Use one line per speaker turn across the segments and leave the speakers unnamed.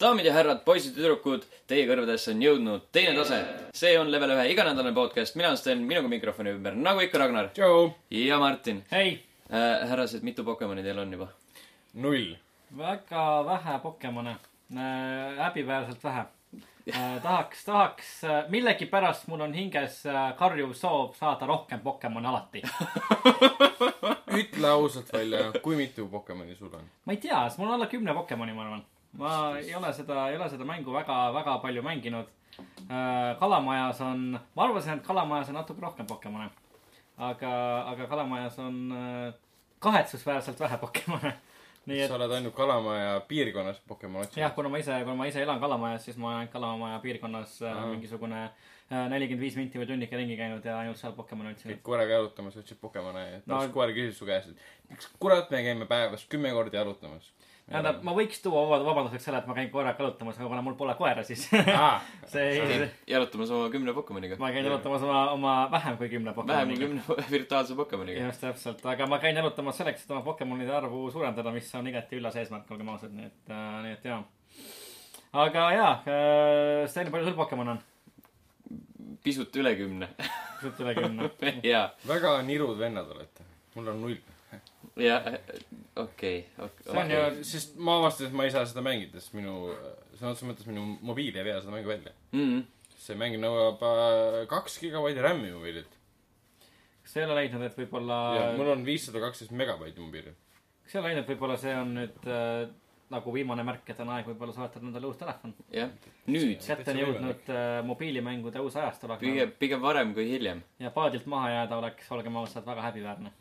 daamid ja härrad , poisid ja tüdrukud , teie kõrvedesse on jõudnud teine tase . see on level ühe iganädalane podcast , mina olen Sten , minuga mikrofoni ümber , nagu ikka , Ragnar
tšau .
ja Martin
hei ,
äh, . härrased , mitu Pokemoni teil on juba ?
null .
väga vähe Pokemone äh, , häbiväärselt vähe äh, . tahaks , tahaks äh, , millegipärast mul on hinges äh, karjuv soov saada rohkem Pokemone alati .
ütle ausalt välja , kui mitu Pokemoni sul on ?
ma ei tea , mul on alla kümne Pokemoni , ma arvan . ma ei ole seda , ei ole seda mängu väga , väga palju mänginud äh, . kalamajas on , ma arvasin , et kalamajas on natuke rohkem Pokemone . aga , aga kalamajas on äh, kahetsusväärselt vähe Pokemone . nii et
sa oled ainult Kalamaja piirkonnas Pokemon
jah ,
otsinud .
kuna ma ise , kuna ma ise elan Kalamajas , siis ma olen ainult Kalamaja piirkonnas äh,
Aa.
mingisugune äh, nelikümmend viis minti või tunnike ringi käinud ja ainult seal Pokemoni otsinud
kõik . koeraga jalutamas , otsid Pokemone ja
No-
no. koer küsis su käest , et miks kurat me käime päevas kümme korda jalutamas .
tähendab , ma võiks tuua vaba- vabanduseks selle , et ma käin koeraga jalutamas , aga kuna mul pole koera , siis
Aa,
see ei ,
jalutamas oma kümne Pokemoniga .
ma käin jalutamas oma , oma vähem kui kümne
vähem kui
Pokemoniga .
kümne virtuaalse Pokemoniga .
just täpselt , aga ma käin jalutamas selleks , et oma Pokemonide arvu suurendada , mis on igati üllas eesmärk , olgem ausad , nii et , nii et jaa . aga jaa , Sten , palju sul Pokemon on ?
pisut üle kümne .
pisut üle kümne .
ja ,
väga nirud vennad olete . mul on null .
ja okei ,
See on ju-
okei .
ja sest ma avastasin , et ma ei saa seda mängida , sest minu , sõna otseses mõttes minu mobiil ei vea seda mängu välja .
Mm-hmm,
see mäng nõuab äh, kaks gigabaiti RAM-i mobiililt .
kas sa ei ole leidnud , et võib-olla
ja mul on viissada kaksteist megabaiti mobiili .
kas ei ole ainult , võib-olla see on nüüd äh, nagu viimane märk , et on aeg võib-olla soetada endale uus telefon .
jah , nüüd
kätte
Täitsa
on
võimalik.
jõudnud äh, mobiilimängude uus ajastu , aga
pigem , pigem varem kui hiljem .
ja paadilt maha jääda oleks , olgem ausad , väga häbiväärne .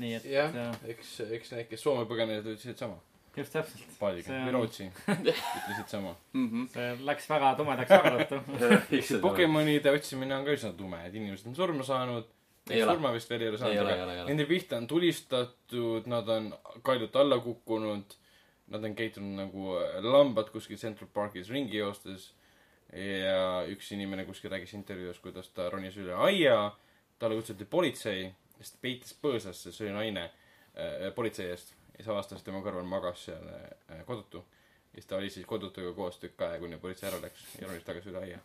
nii et
jah
äh, ,
eks , eks need , kes Soome põgenesid , ütlesid sama .
just täpselt ,
paadiga
See on-
või Rootsi ütlesid sama .
Mhm.
see läks väga tumedaks tagalattu .
Pokemonide otsimine on ka üsna tume , et inimesed on surma saanud .
Ei ole.
surma vist veel ei
Ei
ole
ole,
saanud ,
ei ole, ei
aga
ole.
nende pihta on tulistatud , nad on kaljult alla kukkunud . Nad on käitunud nagu lambad kuskil Central Parkis ringi joostes . ja üks inimene kuskil rääkis intervjuus , kuidas ta ronis üle aia . talle kutsuti politsei , siis ta peitis põõsasse , see oli naine äh, , politsei eest . ja siis avastas , et tema kõrval magas seal äh, kodutu . ja siis ta oli siis kodutuga koos tükk aega , kuni politsei ära läks ja ronis tagasi üle aia .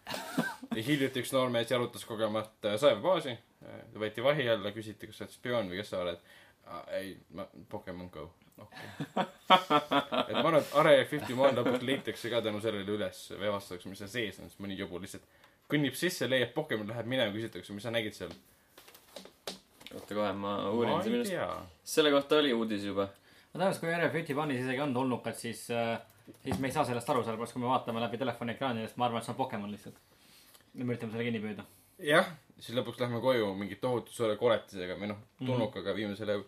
ja hiljuti üks noormees jalutas kogemata saevabaasi , ta võeti vahi alla , küsiti , kas sa oled spioon või kes sa oled . ei , ma , Pokemon Go . okei okay. . et ma arvan , et Are Fifty-One lõpuks leitakse ka tänu sellele üles või avastatakse , mis seal sees on , siis mõni jobu lihtsalt kõnnib sisse , leiab Pokemon , läheb minema , küsitakse , mis sa nägid seal .
oota kohe , ma
ma
uurin seda
ei
minust .
tea .
selle kohta oli uudis juba .
no tõenäoliselt , kui ERF Fifty-One'is isegi on tulnukad , siis äh, , siis me ei saa sellest aru , sellepärast kui me vaatame läbi telefoni ekraani , siis ma arvan , et see on Pokemon lihtsalt . me üritame selle kinni püüda .
jah , siis lõpuks lähme koju mingi tohutu suure koletisega või noh , tulnukaga viime selle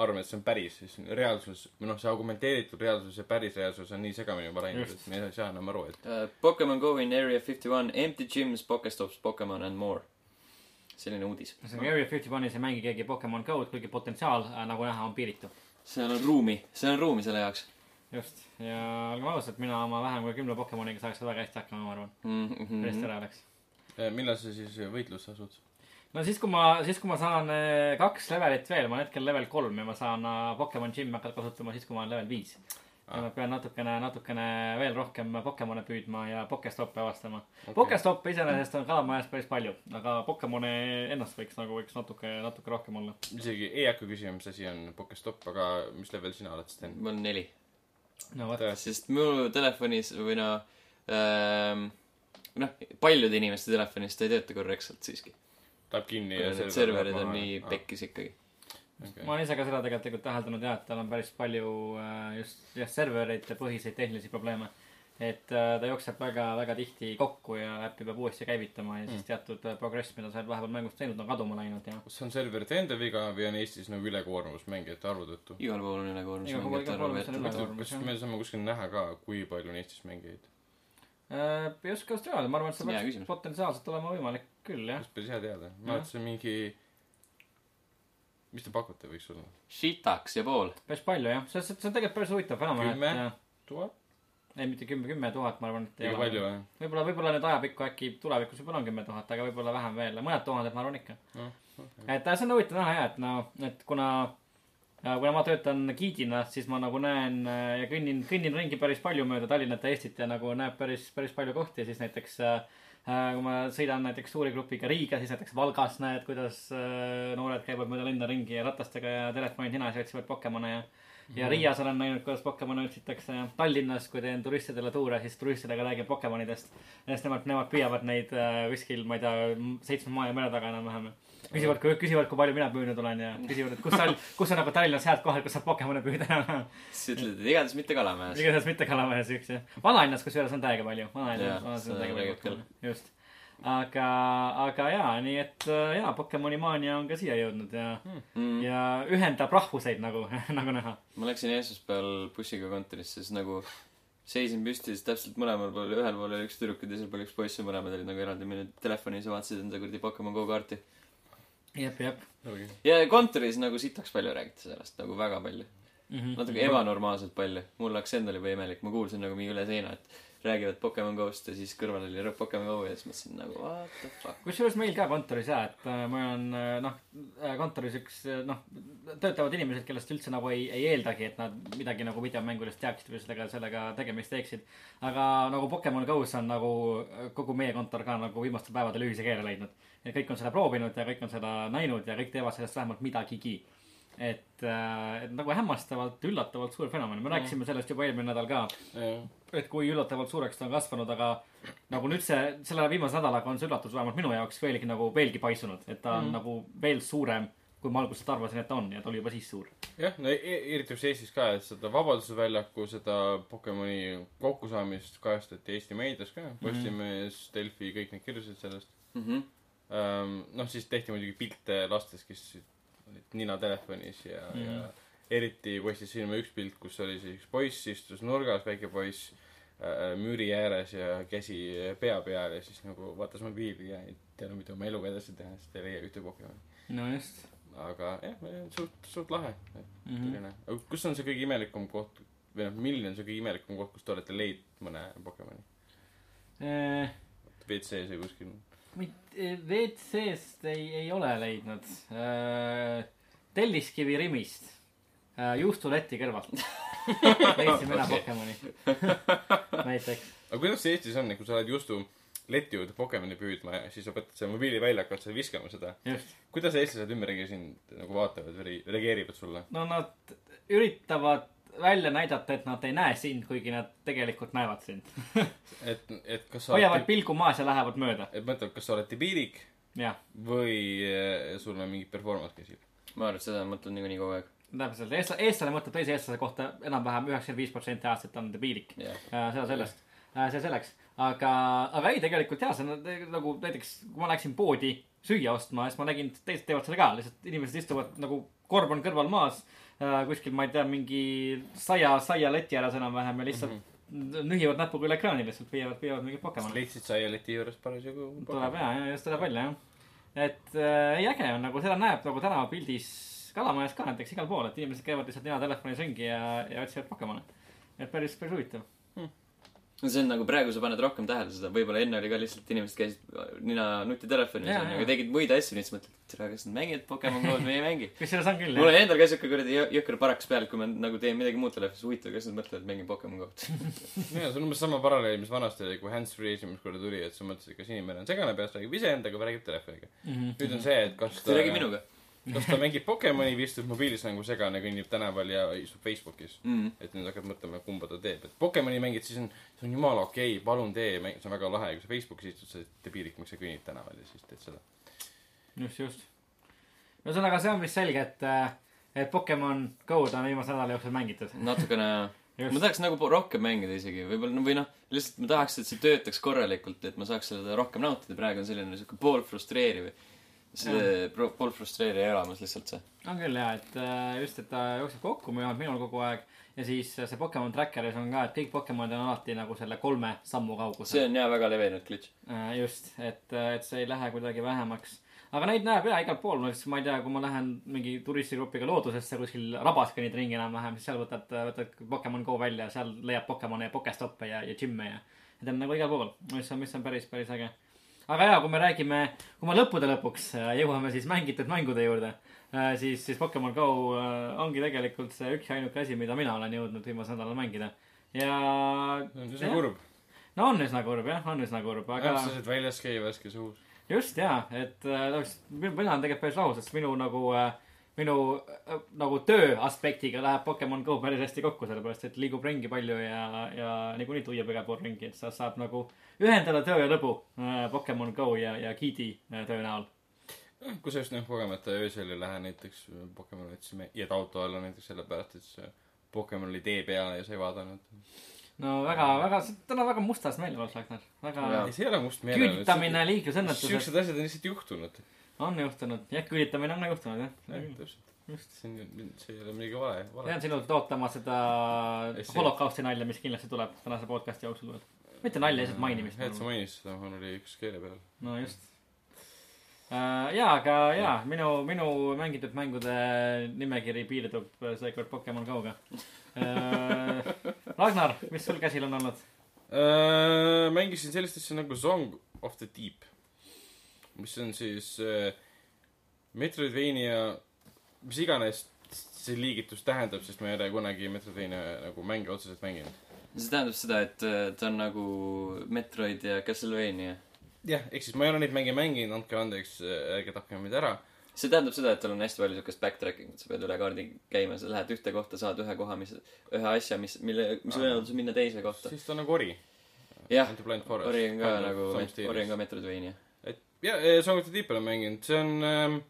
arvame , et see on päris , siis reaalsus või noh , see argumenteeritud reaalsus ja päris reaalsus on nii segamini juba läinud , et me ei saa enam aru , et
Uh, Pokemon Go in Area Fifty One , Empty Gyms , Pokestops , Pokemon and more . selline uudis .
ühesõnaga , Area Fifty-One'is ei mängi keegi Pokemon Go'd , kuigi potentsiaal , nagu näha , on piiritu .
seal on ruumi , seal on ruumi selle jaoks
just , ja olgem ausad , mina oma vähem kui kümne Pokemoniga saaks seda väga hästi hakkama , ma arvan .
mm . -hmm.
päris tore oleks .
Eh, millal sa siis võitlusse asud ?
no siis , kui ma , siis kui ma saan eh, kaks levelit veel , ma olen hetkel level kolm ja ma saan eh, Pokemon Gym hakata kasutama siis , kui ma olen level viis . ja ma pean natukene , natukene veel rohkem Pokemone püüdma ja Pokestoppe avastama okay. . Pokestoppe iseenesest on kalamajas päris palju , aga Pokemone ennast võiks nagu , võiks natuke , natuke rohkem olla .
isegi ei hakka küsima , mis asi on Pokestop , aga mis level sina oled , Sten ?
ma olen neli ,
no vot ,
Tõesti.
sest mu telefonis või no ähm, , noh , paljude inimeste telefonis ta ei tööta korrektselt siiski .
läheb kinni ja
Need serverid on nii
Ah,
pekkis ikkagi .
ma olen ise ka seda tegelikult täheldanud jah , et tal on päris palju äh, just jah , serverite põhiseid tehnilisi probleeme . et äh, ta jookseb väga , väga tihti kokku ja äppi peab uuesti käivitama ja siis
Mm.
teatud äh, progress , mida sa oled vahepeal mängus teinud , on kaduma läinud ja .
kas see on serverite enda viga või on Eestis nagu ülekoormus mängijate arvu tõttu ?
igal pool on ülekoormus
Igal pool-
mängijate
igal pool on
arvu
ülekoormus.
jätnud .
Ülekoormus,
kas
jah.
me saame kuskil näha ka , kui palju on Eestis mängijaid ?
ei oska Äh, just öelda , ma arvan , et
See on
see
hea
peaks
küsimus.
potentsiaalselt olema võimalik küll jah .
oleks päris hea teada . ma arvan , et see on mingi , mis te pakute , võiks olla ?
Shitaks ja pool .
päris palju jah , see , see on tegelikult päris huvitav fenomen ,
kümme
et äh,
tuhat ?
ei mitte kümme , kümme tuhat , ma arvan , et ei
liiga palju
ole .
või ?
võib-olla , võib-olla nüüd ajapikku äkki tulevikus võib-olla on kümme tuhat , aga võib-olla vähem veel , mõned tuhanded ma arvan ikka .
noh ,
et äh, see on huvitav näha ja , et no , et kuna ja kuna ma töötan giidina , siis ma nagu näen äh, ja kõnnin , kõnnin ringi päris palju mööda Tallinnat ja Eestit ja nagu näeb päris , päris palju kohti ja siis näiteks äh, äh, kui ma sõidan näiteks suure grupiga Riiga , siis näiteks Valgas näed , kuidas äh, noored käivad mööda linna ringi ja ratastega ja telefonid hinas ja otsivad Pokemone ja
Hmm.
ja Riias olen näinud , kuidas Pokemone otsitakse ja Tallinnas , kui teen turistidele tuure , siis turistidega räägin Pokemonidest . sest nemad , nemad püüavad neid äh, kuskil , ma ei tea , seitsme maa ja mere taga enam-vähem . küsivad , küsivad , kui palju mina püüdnud olen ja küsivad , et kus sa , kus sa nagu Tallinnas head kohad , kus saab Pokemone püüda enam-vähem .
sa ütled , et igatahes mitte Kalamäes .
igatahes mitte Kalamäes üks jah . vanalinnas kusjuures on täiega palju ,
Jaa,
vanalinnas vanalinnas on
seda
täiega palju
tegelikult küll.
Pokemone , just . aga , aga jaa , nii et äh, jaa , Pokemoni maania on ka siia jõudnud ja
Hmm.
mm. , ja ühendab rahvuseid nagu , nagu näha .
ma läksin esmaspäeval bussiga kontorisse , siis nagu seisin püsti , siis täpselt mõlemal pool , ühel pool oli üks tüdruk ja teisel pool üks poiss ja mõlemad olid nagu eraldi minu telefonis ja vaatasid enda kuradi Pokemon Go kaarti .
jep , jep
ja kontoris nagu sitaks palju räägiti sellest , nagu väga palju .
mm . -hmm.
natuke ebanormaalselt palju . mul aktsent oli juba imelik , ma kuulsin nagu mingi üle seina , et räägivad Pokemon Go'st ja siis kõrval oli rõõm Pokemon Go ja siis mõtlesin nagu what the fuck .
kusjuures meil ka kontoris jaa , et äh, ma olen äh, noh , kontoris üks äh, noh , töötavad inimesed , kellest üldse nagu ei , ei eeldagi , et nad midagi nagu videomängudest teaksid või sellega , sellega tegemist teeksid . aga nagu Pokemon Go's on nagu äh, kogu meie kontor ka nagu viimastel päevadel ühise keele leidnud . ja kõik on seda proovinud ja kõik on seda näinud ja kõik teevad sellest vähemalt midagigi et , et nagu hämmastavalt , üllatavalt suur fenomen , me rääkisime sellest juba eelmine nädal ka , et kui üllatavalt suureks ta on kasvanud , aga nagu nüüd see , selle viimase nädalaga on see üllatus vähemalt minu jaoks veelgi nagu veelgi paisunud , et ta on mm. nagu veel suurem , kui ma alguses arvasin , et ta on ja ta oli juba siis suur .
jah , no e- e- eriti just Eestis ka , et seda Vabaduse väljaku , seda Pokemoni kokkusaamist kajastati Eesti meedias ka , Postimees , Delfi , kõik need kirjutasid sellest
Mhm.
ähm, . noh , siis tehti muidugi pilte lastest , kes olid nina telefonis ja mm , -hmm. ja eriti paistis silma üks pilt , kus oli siis üks poiss istus nurgas , väike poiss äh, müüri ääres ja käsi pea peal ja siis nagu vaatas mobiili ja ei teadnud , mida oma eluga edasi teha , sest ei leia ühte Pokemoni .
no just . Mhm.
aga jah , suht , suht lahe , et selline mm . -hmm. kus on see kõige imelikum koht või noh , milline on see kõige imelikum koht , kus te olete leidnud mõne Pokemoni ?
Äh,
WC-s või kuskil ?
mitte , äh, WC-st ei , ei ole leidnud . Telliskivi Rimist , juustuleti kõrvalt leidsin mina Pokemoni näiteks .
aga kuidas see Eestis on , kui sa lähed justu leti juurde Pokemoni püüdma ja siis sa võtad selle mobiili välja , hakkad seal viskama seda .
just .
kuidas eestlased ümberringi sind nagu vaatavad või re- reageerivad sulle ?
no nad üritavad välja näidata , et nad ei näe sind , kuigi nad tegelikult näevad sind .
et , et kas sa
hoiavad
oled ,
pilgu maas ja lähevad mööda ,
et mõtled , kas sa oled debiilik
jah .
või eh, sul on mingi performance käsil .
ma arvan , et seda mõtlen niikuinii kogu aeg .
täpselt , eestlane , eestlane mõtleb teise eestlase kohta enam-vähem üheksakümmend viis protsenti ajast , et ta on debiilik .
jah .
Äh, seda sellest , see selleks , aga , aga ei , tegelikult jaa , see on te- nagu näiteks , kui ma läksin poodi süüa ostma , siis ma nägin , et teised teevad seda ka , lihtsalt inimesed istuvad nagu korv on kõrval maas , kuskil , ma ei tea , mingi saia , saia leti ääres enam-vähem ja lihtsalt mm -hmm. nühivad näpuga üle ekraani lihtsalt , püüavad , püüavad mingit Pokemoni .
leidsid sa ja leti juures parasjagu
tuleb ja , ja just tuleb välja jah . et äh, ei äge on nagu seda näeb nagu tänavapildis Kalamajas ka näiteks igal pool , et inimesed käivad lihtsalt nina telefonis ringi ja , ja otsivad Pokemone . et päris , päris huvitav .
no see on nagu praegu sa paned rohkem tähele seda , võib-olla enne oli ka lihtsalt inimesed käisid nina nutitelefonis
Jaa,
onju , aga
jaa.
tegid muid asju , nüüd sa mõtled , et tere , kas nad mängivad Pokemon Go'd või ei mängi .
kusjuures on küll
mul
jah .
on endal ka siuke kuradi jõ- jõhker paraks peal , kui ma nagu teen midagi muud telefonis , huvitav , kas nad mõtlevad , et mängin Pokemon Go'd .
jaa , see on umbes sama paralleel , mis vanasti oli , kui hands-free esimest korda tuli , et sa mõtlesid , kas inimene on segane peast , räägib iseendaga või räägib telefoniga . nüüd on see , et kas
Mhm. ta ei räägi minuga .
kas ta mängib Pokemoni või istub mobiilis nagu segane , kõnnib tänaval ja istub Facebookis
Mm.
et nüüd hakkad mõtlema , kumba ta teeb , et Pokemoni mängid , siis on , see on jumala okei okay, , palun tee , see on väga lahe , kui sa Facebookis istud , sa oled debiilik , miks sa kõnnid tänaval ja siis teed seda .
just , just . no ühesõnaga , see on vist selge , et äh, , et Pokemon Go'd on viimase nädala jooksul mängitud .
natukene
Just.
ma tahaks nagu po- rohkem mängida isegi võibolla no või noh lihtsalt ma tahaks et see töötaks korralikult et ma saaks seda rohkem nautida praegu on selline siuke poolfrustreeriv see pro- poolfrustreeriv elamus lihtsalt see
on küll jaa , et äh, just , et ta jookseb kokku , vähemalt minul kogu aeg . ja siis äh, see Pokemon tracker'is on ka , et kõik Pokemonid on alati nagu selle kolme sammu kaugusel .
see on jaa väga levinud glitch
Äh, just , et , et see ei lähe kuidagi vähemaks . aga neid näeb jaa igal pool , näiteks ma ei tea , kui ma lähen mingi turistigrupiga loodusesse kuskil rabas kõnnid ringi enam-vähem , siis seal võtad , võtad Pokemon Go välja , seal leiab Pokemone ja Pokestoppe ja , ja džimme ja . Need on nagu igal pool , mis on , mis on päris , päris äge . aga jaa , kui me räägime , kui me lõppude lõpuks äh, jõuame siis mängitud mängude juurde , Äh, siis , siis Pokemon Go äh, ongi tegelikult see üks ja ainuke asi , mida mina olen jõudnud viimasel nädalal mängida . ja .
see on üsna kurb .
no on üsna kurb jah , on üsna kurb , aga
sa saad väljas käia värskes õhus .
just jaa , et äh, oleks- min- mina olen tegelikult päris rahul , sest minu nagu äh, minu äh, nagu töö aspektiga läheb Pokemon Go päris hästi kokku , sellepärast et liigub ringi palju ja , ja niikuinii tuiab igal pool ringi , et sa saab nagu ühendada töö ja lõbu äh, Pokemon Go ja , ja Giidi äh, töö näol .
kui sa just noh , kogemata öösel ei lähe näiteks Pokemoni otsima , jääd auto alla näiteks sellepärast , et see Pokemon oli tee peal ja sa ei vaadanud .
no väga , väga , ta on väga mustas meelevald , Ragnar , väga
Jaa.
ei , see ei ole must meelel .
küüditamine , liiklusõnnetused
siuksed asjad on lihtsalt juhtunud .
on juhtunud , jah , küüditamine on ka juhtunud jah .
täpselt .
just ,
see on , see ei ole midagi vale , vale .
jään sinult ootama seda
Essay.
holokausti nalja , mis kindlasti tuleb tänase podcasti jooksul veel . mitte nalja , lihtsalt mainimist .
jah , et sa mainisid seda , mul oli üks keele peal .
no just . jaa , aga jaa , minu , minu mängitud mängude nimekiri piirdub äh, seekord Pokemon Go'ga . Ragnar , mis sul käsil on olnud ?
Äh, mängisin sellist asja nagu Song of the Deep , mis on siis äh, Metroidvania , mis iganes see liigitus tähendab , sest ma ei ole kunagi Metroidvania nagu mänge otseselt mänginud .
see tähendab seda , et äh, ta on nagu Metroid ja Castlevania .
jah , ehk siis ma ei ole neid mänge mänginud , andke andeks , ärge tapke mind ära .
see tähendab seda , et tal on hästi palju siukest backtracking , et sa pead üle kaardi käima , sa lähed ühte kohta , saad ühe koha , mis , ühe asja , mis , mille , mis võimaldab sul minna teise kohta .
siis ta on nagu ori .
jah ,
Blind Forest .
Ori on ka nagu , Ori on ka . Metroidvania .
et ja , eh, Song of the Deep olen mänginud , see on ähm,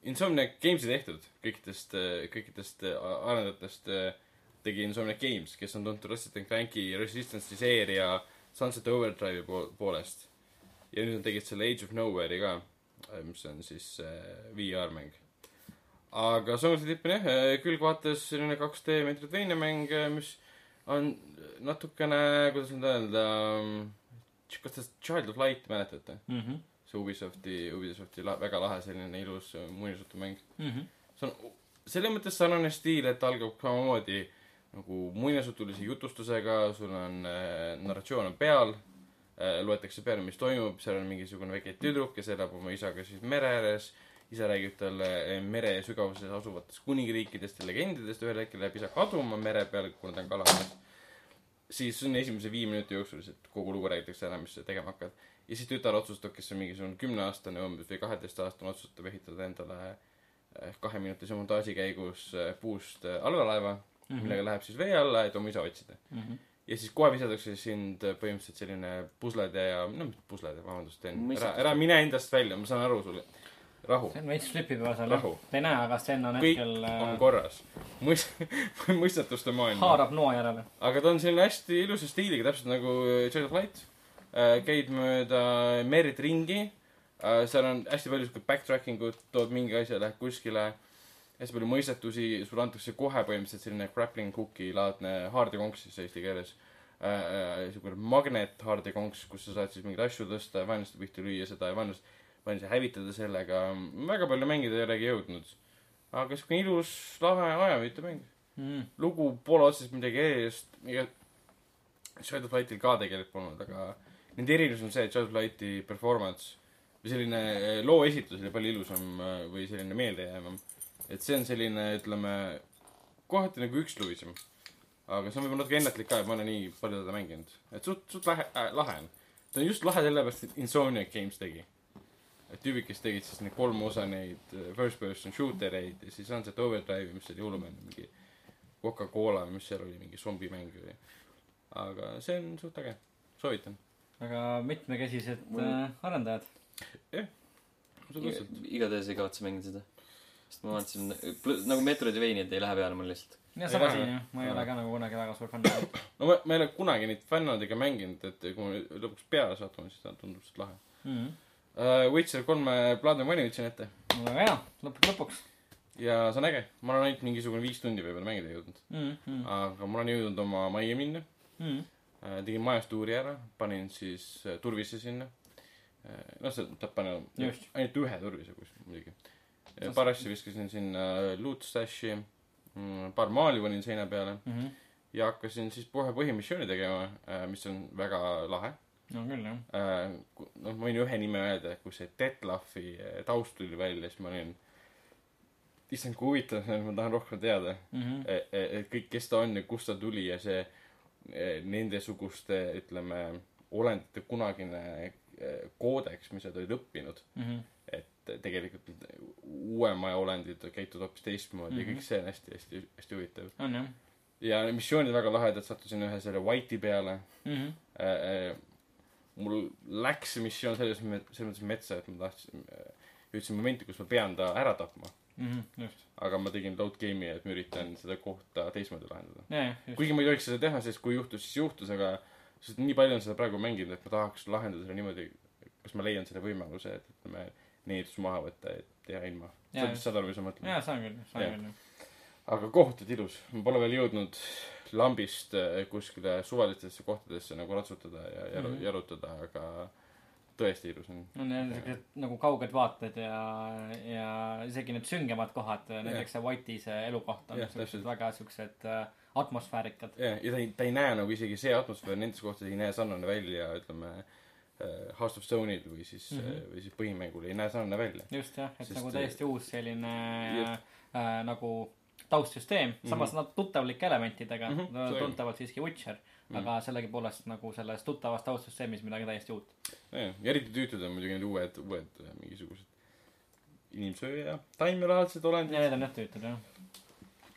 Insomniac Games'i tehtud kõikidest , kõikidest äh, arendajatest äh, tegi Insomniac Games , kes on tuntud Resident Clanki , Resistance'i seeria , Sunset Overdrive'i po- poolest . ja nüüd nad tegid selle Age of Nowhere'i ka , mis on siis äh, VR-mäng . aga Song of the Deep on jah , külgvaates selline 2D Metroidvania mäng , mis on natukene , kuidas nüüd öelda , kas te Child of Light mäletate ? see Ubisofti , Ubisofti la, väga lahe selline ilus äh, muinasjutumäng . see on selles mõttes sarnane stiil , et algab samamoodi nagu muinasjutulise jutustusega , sul on äh, narratsioon on peal äh, , loetakse peale , mis toimub , seal on mingisugune väike tüdruk , kes elab oma isaga siis mere ääres , isa räägib talle äh, mere sügavuses asuvatest kuningriikidest ja legendidest , ühel hetkel läheb isa kaduma mere peal , kuna ta on kalamees . siis on esimese viie minuti jooksul lihtsalt kogu lugu räägitakse ära , mis sa tegema hakkad . ja siis tütar otsustab , kes on mingisugune kümneaastane umbes või kaheteistaastane , otsustab ehitada endale eh, kaheminutise montaaži käigus eh, puust eh, allveelaeva
Mhm.
mm , -hmm. millega läheb siis vee alla , et oma isa otsida . ja siis kohe visatakse sind eh, põhimõtteliselt selline puslede ja , no mitte puslede , vabandust , ära , ära mine endast välja , ma saan aru sulle . rahu ,
Sten veits flipib juba seal ,
Rahu.
te ei näe , aga Sten on
kõik
hetkel
on
äh,
korras . mõist- , mõistatuste maailm .
haarab noa järele .
aga ta on selline hästi ilusa stiiliga , täpselt nagu Child of Light . käid mööda merd ringi , seal on hästi palju siukest backtracking ut , tood mingi asja , lähed kuskile . hästi palju mõistetusi , sulle antakse kohe põhimõtteliselt selline grappling hook'i laadne haardekonks siis eesti keeles . Äh, siukene magnethaardekonks , kus sa saad siis mingeid asju tõsta ja vaenlaste pihta lüüa seda ja vaenlast , vaenlasi hävitada sellega . väga palju mängida ei olegi jõudnud . aga siukene ilus , lahe ajavõitumäng Mhm. lugu pole otseselt midagi erilist , ega Shadow of Lightil ka tegelikult polnud , aga nende erisus on see , et Shadow of Lighti performance või selline eh, loo esitus oli palju ilusam eh, või selline meeldejäävam . et see on selline , ütleme , kohati nagu üksluisem . aga see on võib-olla natuke ennatlik ka , et ma olen nii palju teda mänginud . et suht , suht lahe äh, , lahe on . ta on just lahe sellepärast , et Insomniac Games tegi . et tüübid , kes tegid siis neid kolm osa neid eh, first person shooter eid ja siis on see Overdrive , mis oli hullumeelne mingi Coca-Cola , mis seal oli , mingi zombimäng oli . aga see on suht äge , soovitan .
väga mitmekesised
Mul-
äh, arendajad .
absoluutselt .
igatahes ei kavatse mängida seda . sest ma vaatasin , nagu Metroidvaniad ei lähe peale mul lihtsalt .
ja
Ei
sama
lähe,
siin jah , ma ei
jah.
ole ka nagu kunagi väga suur fänn .
no ma , ma ei ole kunagi neid fännadega mänginud , et kui ma lõpuks peale satun , siis ta tundub lihtsalt lahe uh, . Witcher kolme Platinum Money võtsin ette
Mm-hmm. väga hea , lõppude lõpuks
ja see on äge . ma olen ainult mingisugune viis tundi võib-olla mängida jõudnud .
mm . -hmm.
aga ma olen jõudnud oma majja minna
Mm.
uh, . tegin majast tuuri ära , panin siis uh, turvise sinna uh, . noh , see , ta pani
Just.
ainult ühe turvise kuskil muidugi .
No s-
paar asja viskasin sinna loot stash'i , paar maali panin seina peale
Mm -hmm.
ja hakkasin siis kohe põhimissiooni tegema , mis on väga lahe .
no küll jah .
noh , äh, ma võin ühe nime öelda , kus see Detlafi taust tuli välja , siis ma olin issand , kui huvitav see on , ma tahan rohkem teada .
mhmh .
et et e, kõik , kes ta on ja kust ta tuli ja see eh, nendesuguste , ütleme , olendite kunagine eh, koodeks , mis nad olid õppinud .
Mm-hmm.
et tegelikult need uuema aja olendid käituvad hoopis teistmoodi mm -hmm. ja kõik see on hästi , hästi , hästi huvitav .
on jah
ja need missioonid on väga lahedad , sattusin ühe selle White'i peale
mhmh .
äh, . mul läks see missioon selles mõttes , selles mõttes metsa , et ma tahtsin , jõudsin momenti , kus ma pean ta ära tapma .
mhmh , Mm-hmm. just .
aga ma tegin load game'i , et ma üritan seda kohta teistmoodi lahendada .
ja , ja , just .
kuigi ma ei tohiks seda teha , sest kui juhtus , siis juhtus , aga sest nii palju on seda praegu mänginud , et ma tahaks lahendada selle niimoodi , kas ma leian selle võimaluse , et ütleme , needus maha võtta , et teha ilma .
Jaa,
saad , saad aru , mis ma mõtlen ?
jaa , saan küll , saan
Jah.
küll , jah .
aga kohutavalt ilus , ma pole veel jõudnud lambist äh, kuskile suvalistesse kohtadesse nagu ratsutada ja jalu- mm
Mhm.
-hmm. jalutada , aga tõesti ilus on .
on jah siuksed nagu kauged vaated ja , ja isegi need süngemad kohad , näiteks see Whitey see elukoht on
Jah,
siuksed
täpselt.
väga siuksed äh, atmosfäärikad .
ja , ja ta ei , ta ei näe nagu isegi see atmosfäär nendes kohtades ei näe sarnane välja , ütleme äh, House of Stone'il või siis mm , -hmm.
Mhm.
või siis põhimängul ei näe sarnane välja .
just jah , et
Sest,
nagu
äh,
täiesti uus selline
jah.
äh, nagu taustsüsteem , samas nad tuttavlike elementidega mm ,
Mhm,
-hmm,
selge.
tuntavalt siiski Witcher mm , -hmm. aga sellegipoolest nagu selles tuttavas taustsüsteemis midagi täiesti uut .
ja eriti tüütud on muidugi need uued , uued äh, mingisugused inimsööja , taimelaadsed olendid
ja . need on jah tüütud jah .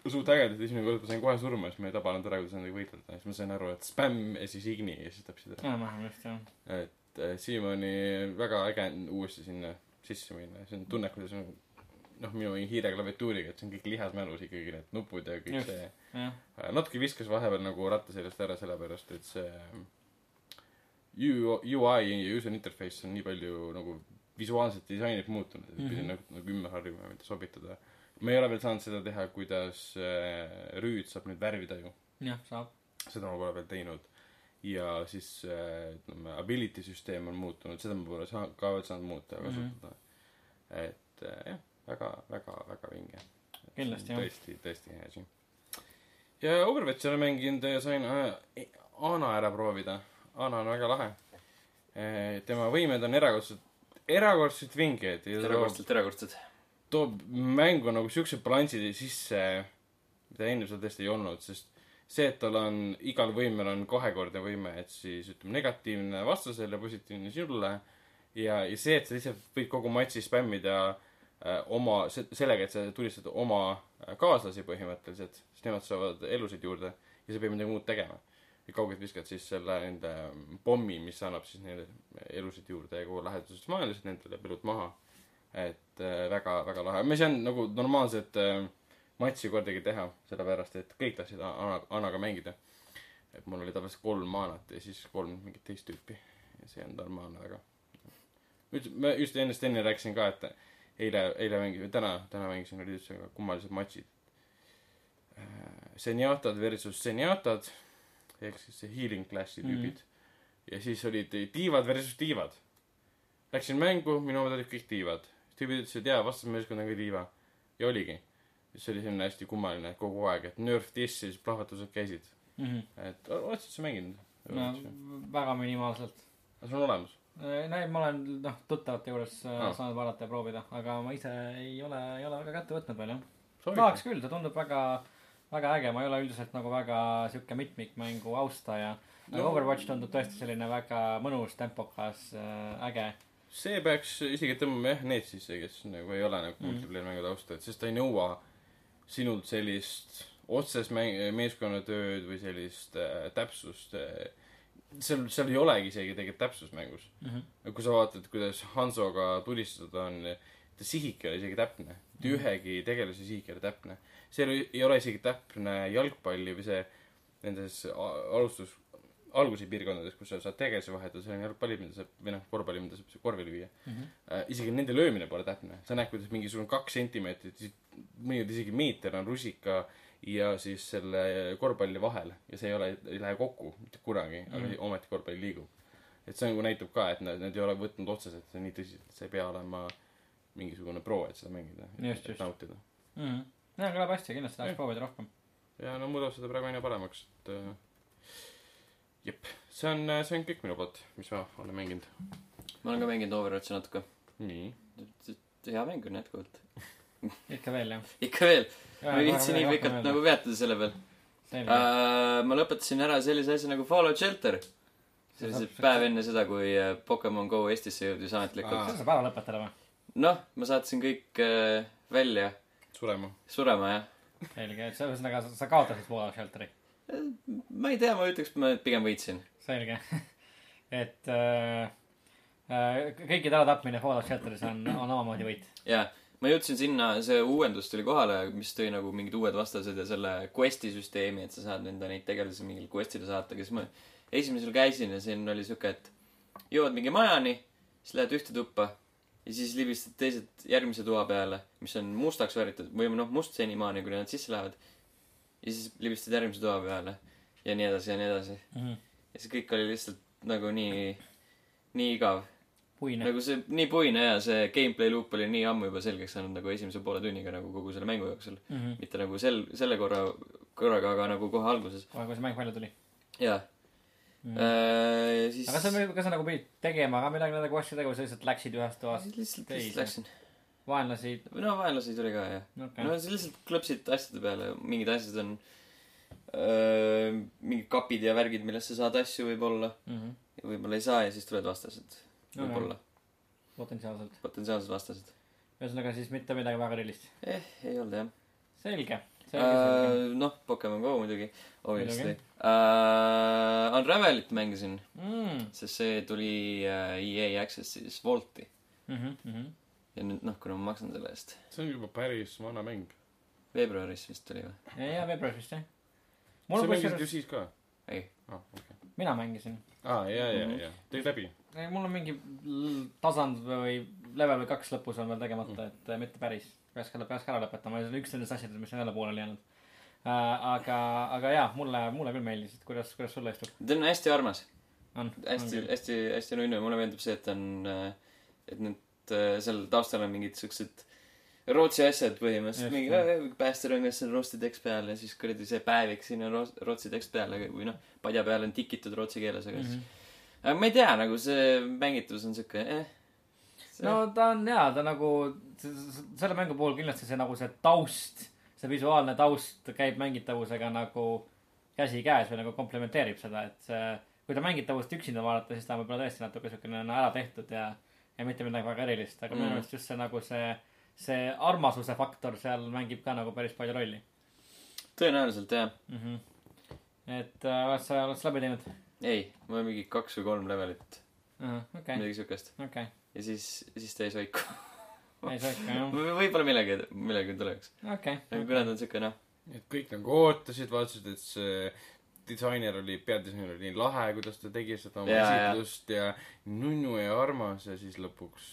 suht ägedad , esimene kord ma sain kohe surma , siis ma ei tabanud ära , kuidas nendega võidelda , siis ma sain aru , et spämm ja siis igni ja siis täpselt ära .
enam-vähem just jah .
et äh, siiamaani väga äge on uuesti sinna sisse minna , see on tunne , kuidas on noh , minu mingi hiire klaviatuuriga , et see on kõik lihas mälus ikkagi , need nupud ja kõik
Just.
Just. see .
jah ,
Äh, natuke viskas vahepeal nagu ratta seljast ära , sellepärast et see U- UI ja user interface on nii palju nagu visuaalset disainit muutunud , et pidin mm -hmm.
Mhm.
nagu, nagu ümber harjuma , mida sobitada . ma ei ole veel saanud seda teha , kuidas äh, rüüd saab nüüd värvida ju ,
jah saab .
seda ma pole veel teinud . ja siis äh, ütleme , ability süsteem on muutunud , seda ma pole saa- , ka veel saanud muuta ja
Mhm.
kasutada mm . -hmm. et äh, jah , väga , väga , väga vinge .
Kindlasti, jah.
tõesti , tõesti hea asi . ja Overwatchi olen mänginud ja sain äh, Ana ära proovida . Ana on väga lahe . tema võimed on erakordselt , erakordselt vinged ja ta
erakordselt erakordselt .
toob mängu nagu siukse balansi sisse , mida enne seal tõesti ei olnud , sest see , et tal on , igal võimel on kahekordne võime , et siis ütleme , negatiivne vastasele , positiivne sinule ja , ja see , et sa ise võid kogu matši spämmida äh, oma , sellega , et sa tulistad oma äh, kaaslasi põhimõtteliselt , sest nemad saavad elusid juurde ja sa ei pea midagi muud tegema . ja kaugelt viskad siis selle enda pommi , mis annab siis neile elusid juurde ja kogu läheduses maailmas , nendel jääb elud maha . et äh, väga , väga lahe , ma ei saanud nagu normaalset äh, matši kordagi teha , sellepärast et kõik tahtsid A- Ana , Anaga mängida . et mul oli tavaliselt kolm Anat ja siis kolm mingit teist tüüpi ja see on normaalne väga . nüüd ma just ennast enne rääkisin ka , et eile , eile mängi- , täna , täna mängisin , olid üldse väga kummalised matšid . Senjatad versus senjatad ehk siis see healing class'i
Mhm.
tüübid mm . -hmm. ja siis olid tiivad versus tiivad . Läksin mängu , minu omad olid kõik tiivad . tüübid ütlesid jaa , vastasmeeskond on ka tiiva . ja oligi . see oli selline hästi kummaline kogu aeg , et nerf this ja siis plahvatused käisid . et o- oled sa üldse mänginud ?
Mhm. no väga minimaalselt .
sul on olemas ?
no ei , ma olen noh , tuttavate juures ah.
Aa.
saanud vaadata ja proovida , aga ma ise ei ole , ei ole väga kätte võtnud veel jah . tahaks küll , ta tundub väga , väga äge , ma ei ole üldiselt nagu väga sihuke mitmikmängu austaja . aga no.
No-
Overwatch tundub tõesti selline väga mõnus , tempokas , äge .
see peaks isegi tõmbama jah need sisse , kes nagu ei ole nagu
Mhm.
multiplayer mängu taustajad , sest ta ei nõua sinult sellist otsest mäng- , meeskonnatööd või sellist äh, täpsust äh, . seal , seal ei olegi isegi tegelikult täpsus mängus .
Mhm.
kui sa vaatad , kuidas Hansoga tulistada on , ta sihik ei ole isegi täpne . mitte ühegi tegelase sihik ei ole täpne . seal ei ei ole isegi täpne jalgpalli või see nendes a- alustus , algusepiirkondades , kus sa saad tegelasi vahetada , seal on jalgpalli , mida saab , või noh , korvpalli , mida saab korvile viia .
Mhm.
äh, isegi nende löömine pole täpne , sa näed , kuidas mingisugune kaks sentimeetrit , mõnikord isegi meeter on rusika ja siis selle korvpalli vahel ja see ei ole , ei lähe kokku mitte kunagi , aga
Mhm.
ometi korvpall liigub . et see nagu näitab ka , et nad , nad ei ole võtnud otseselt seda nii tõsiselt , sa ei pea olema mingisugune pro , et seda mängida ,
Just, just.
et nautida .
Mhm. jah , kõlab hästi , kindlasti tahaks
Jah.
proovida rohkem .
ja no muudab seda praegu aina paremaks , et äh, jep , see on , see on kõik minu poolt , mis ma olen mänginud .
ma olen ka mänginud Overwatchi natuke .
nii ,
hea mäng on jätkuvalt .
ikka veel jah .
ikka veel . ma ei viitsi nii pikalt nagu peatuda selle peal .
selge uh, .
Äh, ma lõpetasin ära sellise asja nagu Fallout Shelter . see oli see päev enne seda , kui äh, Pokemon Go Eestisse jõudis
Aa.
ametlikult .
kas saab ära lõpetada või ?
noh , ma saatsin kõik äh, välja
surema .
surema , jah .
selge , et sa- ühesõnaga sa- sa kaotasid Wall of Shelteri .
ma ei tea , ma ütleks , ma pigem võitsin .
selge . et äh, äh, kõikide äratapmine Wall of Shelteris on , on omamoodi võit .
jaa , ma jõudsin sinna , see uuendus tuli kohale , mis tõi nagu mingid uued vastased ja selle quest'i süsteemi , et sa saad enda neid tegelasi mingile quest'ile saata , kes ma esimesel käisin ja siin oli siuke , et jõuad mingi majani , siis lähed ühte tuppa ja siis libistad teised järgmise toa peale , mis on mustaks värvitud või noh , must senimaani , kuni nad sisse lähevad . ja siis libistad järgmise toa peale ja nii edasi ja nii edasi . ja see kõik oli lihtsalt nagu nii , nii igav
puine .
nagu see nii puine ja see gameplay loop oli nii ammu juba selgeks saanud nagu esimese poole tunniga nagu kogu selle mängu jooksul
kohe ,
mitte nagu sel selle korra korraga aga nagu kohe alguses
kui see mäng välja tuli .
jaa mm. äh, siis
Mhm. aga kas sa , kas sa nagu pidid tegema ka midagi nende quest'idega või sa lihtsalt läksid ühest toast
lihtsalt lihtsalt
teise.
läksin
vaenlasi
no vaenlasi tuli ka jah
okay.
no
no, ?
sa lihtsalt klõpsid asjade peale mingid asjad on öö, mingid kapid ja värgid millest sa saad asju võibolla
Mm -hmm.
ja võibolla ei saa ja siis tulevad vastased
No,
võibolla
potentsiaalselt .
potentsiaalsed vastased
ühesõnaga siis mitte midagi väga erilist .
eh ei olnud jah
selge . selge ,
Äh, noh , Pokemon Go muidugi , obviously
Muidugi. .
Uh, Unravelit mängisin ,
selge .
sest see tuli uh, EA Access'is Wolti
mhm,
ja nüüd noh , kuna ma maksan selle eest ,
see on juba päris vana mäng .
veebruaris vist tuli või ?
ja veebruaris vist jah . mul
sa
on
mängisid ju
kusjuures ,
siis ka ?
ei ,
aa , okei .
mina mängisin .
Ah,
aa , ja , ja , ja . tegid läbi ?
ei , mul on mingi l- tasand või level või kaks lõpus on veel tegemata , et äh, mitte päris . peaks ka , peaks ka ära lõpetama , see on üks nendest asjadest , mis on jälle pooleli jäänud . aga , aga jaa , mulle , mulle küll meeldis , et kuidas , kuidas sulle istub .
ta on hästi armas ,
on .
hästi , hästi , hästi nunnu ja mulle meeldib see , et on uh, , et need uh, seal taustal on mingid siuksed Rootsi asjad
Just,
põhimõtteliselt , mingi
jah.
äh, päästerõngas on rootsi tekst peal ja siis kuradi see päevik siin on roos- rootsi tekst peal , aga või noh , padja peal on tikitud rootsi keeles , aga siis
Mhm.
aga ma ei tea , nagu see mängitus on siuke eh. .
no ta on jaa , ta nagu , selle mängu puhul kindlasti see nagu see taust , see visuaalne taust käib mängitavusega nagu käsikäes või nagu komplementeerib seda , et see , kui ta mängitavust üksinda vaadata , siis ta on võib-olla tõesti natuke siukene no, ära tehtud ja , ja mitte midagi väga erilist , aga minu
Mm.
meelest just see nagu see , see armasuse faktor seal mängib ka nagu päris palju rolli
tõenäoliselt jah .
mm . -hmm. et äh, oled sa , oled sa läbi teinud uh ?
ei , mul on mingi kaks või kolm levelit
-huh,
okay. ,
okei ,
midagi siukest .
okei ,
ja siis , siis ta jäi soiku .
ei sa ikka jah ,
võib-olla millegi , millegi tuleks . aga
okei .
kuna ta on siuke noh ,
et kõik nagu ootasid , vaatasid , et see disainer oli , peadisainer oli nii lahe , kuidas ta tegi seda oma
Jaa, jaa.
esitlust ja, ja nunnu ja armas ja siis lõpuks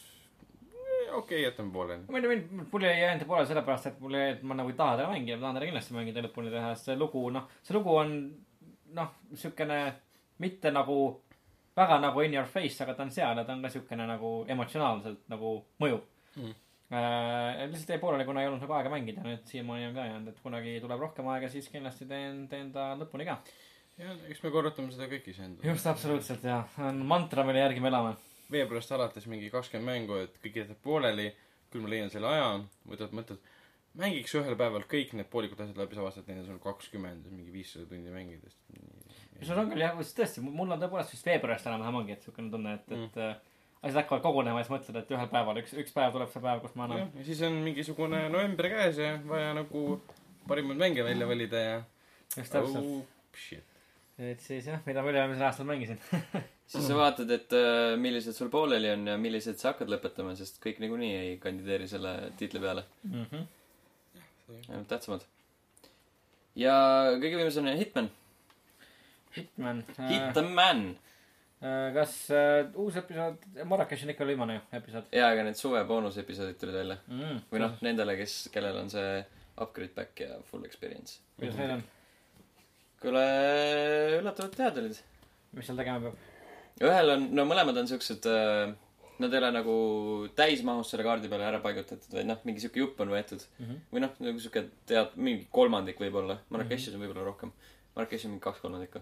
eh, okei okay, , jätame pooleli .
ma ei tea , mind , mul ei jäänud poole sellepärast , et mul ei , et ma nagu ei taha teda mängida , ma tahan teda kindlasti mängida ja lõpuni teha , sest see lugu , noh , see lugu on noh , siukene mitte nagu väga nagu in your face , aga ta on seal ja ta on ka siukene nagu emotsionaalselt nagu mõjuv
Mm.
äh, . lihtsalt jäi pooleli , kuna ei olnud nagu aega mängida , nüüd siiamaani on ka jäänud , et kunagi tuleb rohkem aega , siis kindlasti teen , teen ta lõpuni ka .
ja eks me korrutame seda kõik iseendale .
just , absoluutselt jaa , on mantra , mille järgi me elame .
veebruarist alates mingi kakskümmend mängu , et kõik jätab pooleli , küll ma leian selle aja , võtad mõtted , mängiks ühel päeval kõik need poolikud asjad läbi , sa avastad , neid on sul kakskümmend , mingi viissada tundi mängida .
sul on küll jah , tõesti , mul on tõepoolest vist veebruarist enam-vähem ongi , et siukene tunne , et
Mm.
mm. , et äh, asjad hakkavad kogunema ja siis mõtled , et ühel päeval , üks , üks päev tuleb see päev , kus ma
jah
enam ,
ja siis on mingisugune november käes ja vaja nagu parimaid mänge välja valida ja
just täpselt .
oh, shit.
et siis jah , mida ma üle-eelmisel aastal mängisin .
siis sa vaatad , et äh, millised sul pooleli on ja millised sa hakkad lõpetama , sest kõik niikuinii ei kandideeri selle tiitli peale . ainult tähtsamad . ja kõige viimasena Hitman ,
Hitman .
Hitman .
kas äh, uus episood , Marrakechis on ikka veel viimane ju episood
jaa , aga need suve boonusepisoodid tulid välja .
mm. ?
või noh , nendele , kes , kellel on see upgrade back ja full experience .
kuidas neil on ,
kuule , üllatavalt head olid .
mis seal tegema peab ?
ühel on , no mõlemad on siuksed , nad ei ole nagu täismahus selle kaardi peale ära paigutatud , vaid noh , mingi siuke jupp on võetud
Mm -hmm.
või noh , nagu siuke tead , mingi kolmandik võib-olla , Marrakechis on võib-olla rohkem . Marrakechis on mingi kaks kolmandikku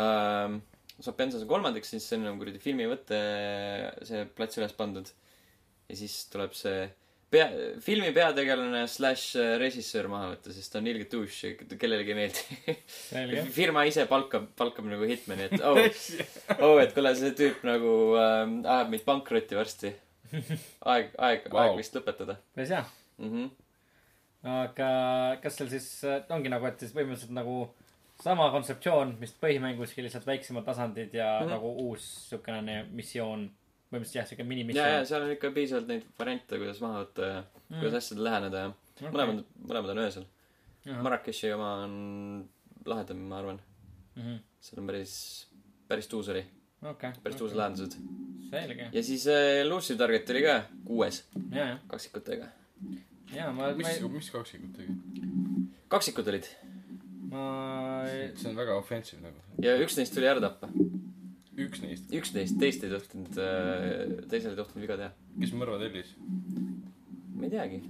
ähm, . Sopensas on kolmandik , siis äh, sinna on kuradi filmivõte see plats üles pandud . ja siis tuleb see pea , filmi peategelane slaš äh, režissöör maha võtta , sest ta on ilge tuš , kellelegi ei meeldi .
selge .
firma ise palkab , palkab nagu hitmani , et oh, oh , et kuule , see tüüp nagu ähm, ajab meid pankrotti varsti . aeg , aeg wow. ,
Vau.
aeg vist lõpetada
päris hea .
mm . -hmm.
aga kas seal siis äh, ongi nagu , et siis põhimõtteliselt nagu sama kontseptsioon , mis põhimänguski , lihtsalt väiksemad tasandid ja mm
Mhm.
-hmm. nagu uus siukene ne- missioon . põhimõtteliselt jah , siuke
ja , ja
minimissioon . Mhm.
seal on ikka piisavalt neid variante , kuidas maha võtta ja mm. kuidas asjadele läheneda ja okay. mõlemad , mõlemad on öösel .
Ah.
Marrakechi oma on lahedam , ma arvan . seal on päris , päris tuus oli ,
Mhm. okei .
päris tuusad . lahendused .
selge ,
ja siis äh, Elusive Target oli ka kuues
ja , ja ,
kaksikutega .
ja ma , ma
mis
ei ,,
mis kaksikud tegid ?
kaksikud olid
ma ei ,
see on väga offensive nagu .
ja üks neist tuli ära tappa .
üks neist ,
üks neist , teist ei tohtinud äh, , teisel ei tohtinud viga teha .
kes mõrva tellis ,
ma ei teagi ,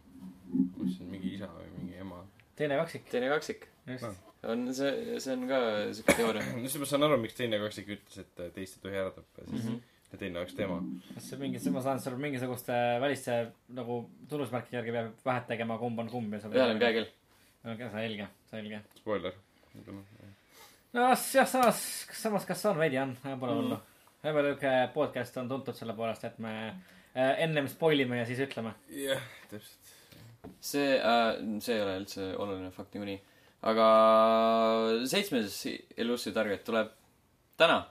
mis see on , mingi isa või mingi ema ?
teine kaksik ,
teine kaksik
just
Ah. .
on see , see on ka siuke teooria .
no siis ma saan aru , miks teine kaksik ütles , et äh, teist ei tohi ära tappa , siis
Mhm.
mm -hmm. teine oleks tema .
kas see mingi , ma saan seal mingisuguste väliste nagu tunnusmärkide järgi peab vahet tegema , kumb on kumb ja seal .
ühel on . peakell .
okei , selge , selge .
spoiler .
no jah , samas , samas , kas on veidi on , pole
Mm.
hullu . võib-olla siuke podcast on tuntud selle poolest , et me äh, ennem spoil ime ja siis ütleme .
jah , täpselt .
see äh, , see ei ole üldse oluline fakt niikuinii . aga seitsmes Elusive Target tuleb täna .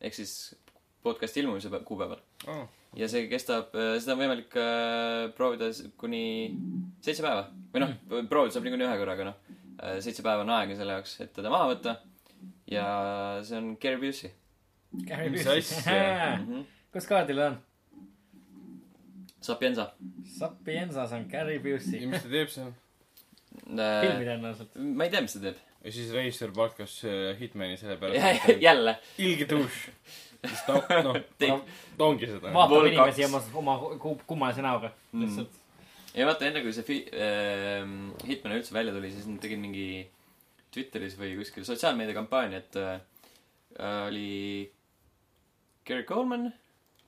ehk siis podcast'i ilmumise pä- kuupäeval .
aa ,
ja see kestab , seda on võimalik äh, proovida s- kuni seitse päeva või noh , proovida saab niikuinii ühe korraga noh . seitse päeva on aega selle jaoks , et teda maha võtta . ja see on Gary Busey
Mis
Äh.
asja?
mm . -hmm.
kus kaardil on ?
Sapienza .
Sapiensas on Gary
ja
Busey .
mis ta teeb seal ?
ma
Äh,
filmi tõenäoliselt .
Äh, ei tea , mis ta teeb .
ja siis reisijal palkas äh, Hitmani sellepärast , et
jälle .
ilge duš . siis ta , noh ,
Teeb-
ta ongi seda .
vaatab
Vol
inimesi
kaks.
oma , oma ku- kummalise näoga
Mm.
lihtsalt .
ja vaata , enne kui see fi- , ähm, Hitman üldse välja tuli , siis nad tegid mingi Twitteris või kuskil sotsiaalmeediakampaania , et äh, oli Gary Coleman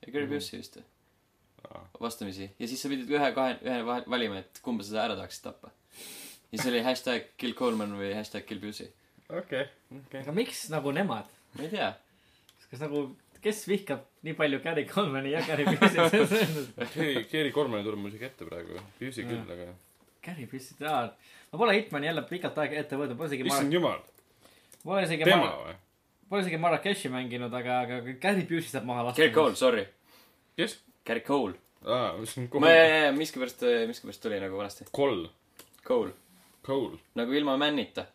ja Gary Busey vist vastamisi ja siis sa pidid ühe , kahe , ühe vahel valima , et kumba sa ära tahaksid tappa . ja see oli hashtag kill Coleman või hashtag kill Busey .
okei , okei .
aga miks nagu nemad ?
ma ei tea ,
kas nagu , kes vihkab nii palju Gary Colemani ja Gary Busey't ?
Gary , Gary Cormani tuleb mul isegi ette praegu . Füüsi küll , aga .
Gary Busey't , aa . ma pole Hitmani jälle pikalt aega ette võtnud , pole isegi Mar-
issand , jumal ,
pole isegi
tema
Mar- ,
või ?
pole isegi Marrakechi mänginud , aga , aga Gary Busey saab maha lasta .
Gary Cole , sorry ,
kes ?
Gary Cole .
aa , mis on
ma
Cole ?
miskipärast , miskipärast tuli nagu vanasti ,
Cole ,
Cole .
Cole .
nagu ilma männita .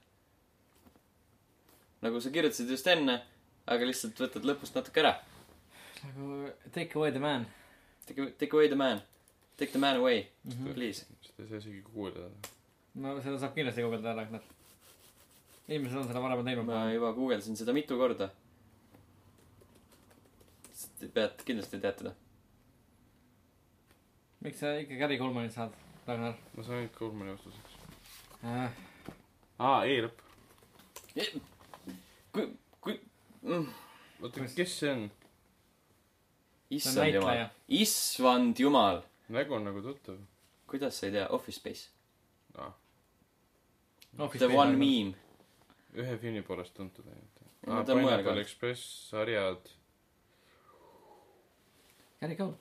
nagu sa kirjutasid just enne , aga lihtsalt võtad lõpust natuke ära .
nagu Take away the man .
Take , take away the man . Take the man away mm , -hmm. please .
seda ei saa isegi kuulda .
Mhm. no seda saab kindlasti guugeldada ära , noh . inimesed on seda varem teinud .
ma juba guugeldasin seda mitu korda . Te pead , kindlasti teate ta .
miks sa ikka Gary Colemani saad , Ragnar
ma saan ainult Cormani vastuseks .
äh, ?
aa , E-lõpp .
kui , kui , Mm.
oota , kes see on ?
issand
näitleja.
jumal , issand jumal ,
nägu on nagu tuttav .
kuidas sa ei tea , Office Space ,
aa ,
The One . Meme .
ühe filmi poolest tuntud ainult .
No
aa ,
ta on mujal ka.
Pineapple Express , sarjad .
Gary Cole .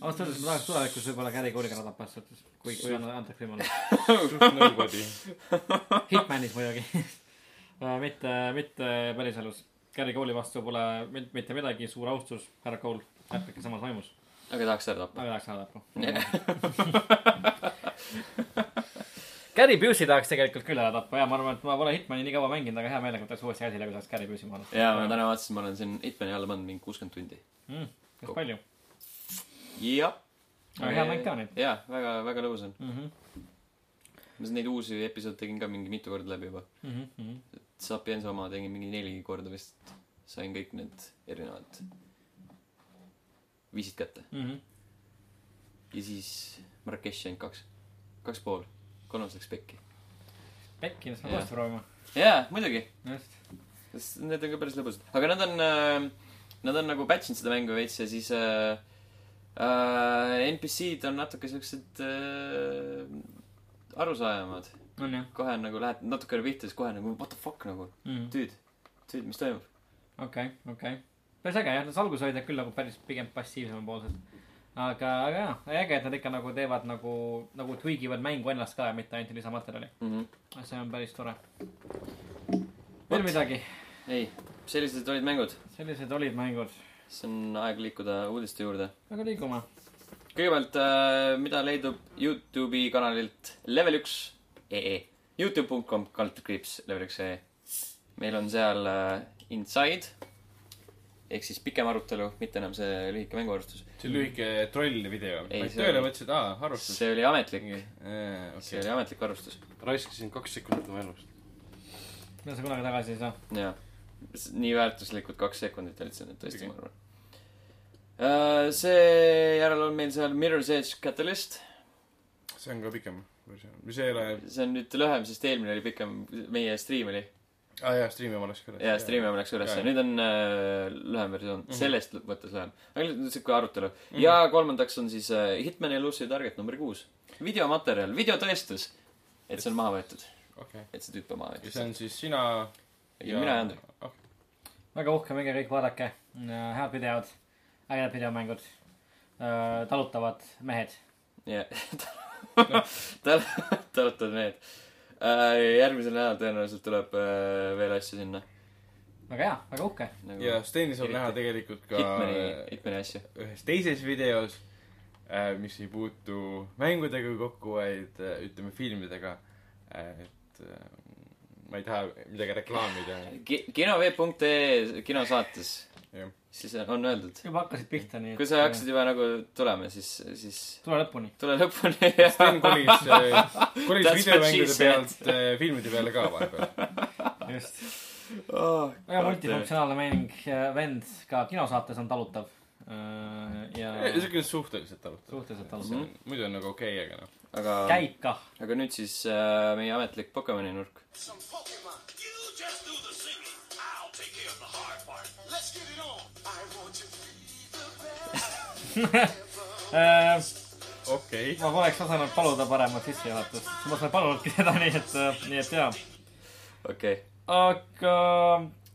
ausalt öeldes ma tahaks tulevikus võib-olla Gary Cole'iga ära tappa , selles suhtes , kui , kui on- antakse võimalus .
suht nobody .
Hitmanis muidugi . mitte , mitte päriselus . Gary Cole'i vastu pole mit- mitte midagi , suur austus , härra Cole , jätkake samas vaimus .
aga tahaks ära tappa .
aga tahaks ära tappa . Gary Busey tahaks tegelikult küll ära tappa ja ma arvan , et ma pole Hitmani nii kaua mänginud , aga hea meelega võtaks uuesti käsile , kui saaks Gary Busey maha lasta .
ja ma täna vaatasin , ma olen siin Hitmani alla pannud mingi kuuskümmend tundi .
mm, . päris palju .
jah .
Aga hea mäng ka nüüd. .
jaa , väga , väga lõbus on .
mm . -hmm.
ma neid uusi episoode tegin ka mingi mitu korda läbi juba .
Mm -hmm.
Sapienza oma tegin mingi neli korda vist . sain kõik need erinevad viisid kätte .
Mm -hmm.
ja siis Marrakechi ainult kaks . kaks pool . kolmas läks pekki .
Pekki , las ma
Jah.
uuesti proovima .
jaa , muidugi .
just .
Need on ka päris lõbusad . aga nad on äh, , nad on nagu patch inud seda mängu veits ja siis äh, äh, . NPC-d on natuke siuksed äh, arusaajamad .
on jah ,
kohe nagu lähed natukene pihta , siis kohe nagu what the fuck nagu , tüüd , tüüd , mis toimub ?
Mhm. okei , okei . päris äge jah , algus olid nad küll nagu päris pigem passiivsemapoolsed . aga , aga jaa , äge , et nad ikka nagu teevad nagu , nagu tweegivad mängu ennast ka ja mitte ainult lisamaterjali .
Mhm.
see on päris tore .
Vot.
veel midagi ,
ei , sellised olid mängud ,
sellised olid mängud .
siis on aeg liikuda uudiste juurde .
aga liigume .
kõigepealt , mida leidub Youtube'i kanalilt level üks E ee , Youtube.com kaldkriips level üks ee . meil on seal äh, Inside ehk siis pikem arutelu , mitte enam see lühike mänguarvestus .
see lühike trollvideo .
Ei,
Läksid
see
tööle ,
oli-
mõtlesid , aa , harrastus .
see oli ametlik , see
okei ,
oli ametlik arvestus ,
raiskasin kaks sekundit oma elust .
mida sa kunagi tagasi ei saa .
jaa . nii väärtuslikud kaks sekundit olid seal nüüd tõesti , ma arvan . seejärel on meil seal Mirror's Edge Catalyst ,
see on ka pikem versioon , mis ei ole ,
see on nüüd lühem , sest eelmine oli pikem , meie stream oli
aa Ah, jaa , striimi ma läks ka üles .
jaa , striimi ma läks ülesse
Jaa. , Mhm.
nüüd on äh, lühem versioon mm , -hmm. sellest mõttes lühem . aga nüüd on siuke arutelu mm . -hmm. ja kolmandaks on siis äh, Hitman Elusive Target number kuus . videomaterjal , videotõestus , et see on maha võetud ,
okei ,
et see tüüp on maha
ja
võetud .
see on siis sina
ja mina ja Andrei ..
väga uhke minge kõik vaadake , head videod , ägedad videomängud , talutavad mehed .
jah , tal , tal on need . järgmisel nädalal tõenäoliselt tuleb äh, veel asju sinna
väga hea , väga uhke .
nagu
ja Steni saab näha tegelikult ka
Hitmani , Hitmani asju .
ühes teises videos , mis ei puutu mängudega kokku , vaid äh, ütleme filmidega . et äh, ma ei taha midagi reklaamida .
kinovee.ee E kinosaates ,
Jah.
siis on öeldud .
juba hakkasid pihta , nii et .
kui sa hakkasid juba nagu tulema , siis , siis
tule lõpuni .
tule lõpuni
Sten kolis , kolis
That's what she
videomängude
said.
pealt äh, filmide peale ka vahepeal .
just .
oh,
väga multifunktsionaalne mäng , vend ka kinosaates on talutav . ja
niisugune suhteliselt talutav .
suhteliselt talutav .
muidu on nagu okei okay, , aga noh .
aga ,
käib kah .
aga nüüd siis äh, meie ametlik Pokemoni nurk .
some Pokemon. You just do the singing. I'll take care of the hard part. Let's get it on. I want you to be the best.
Äh, ma
okei okay. .
poleks osanud paluda paremat sissejuhatust , ma ei palunudki seda , nii et , nii et jaa .
okei okay. .
aga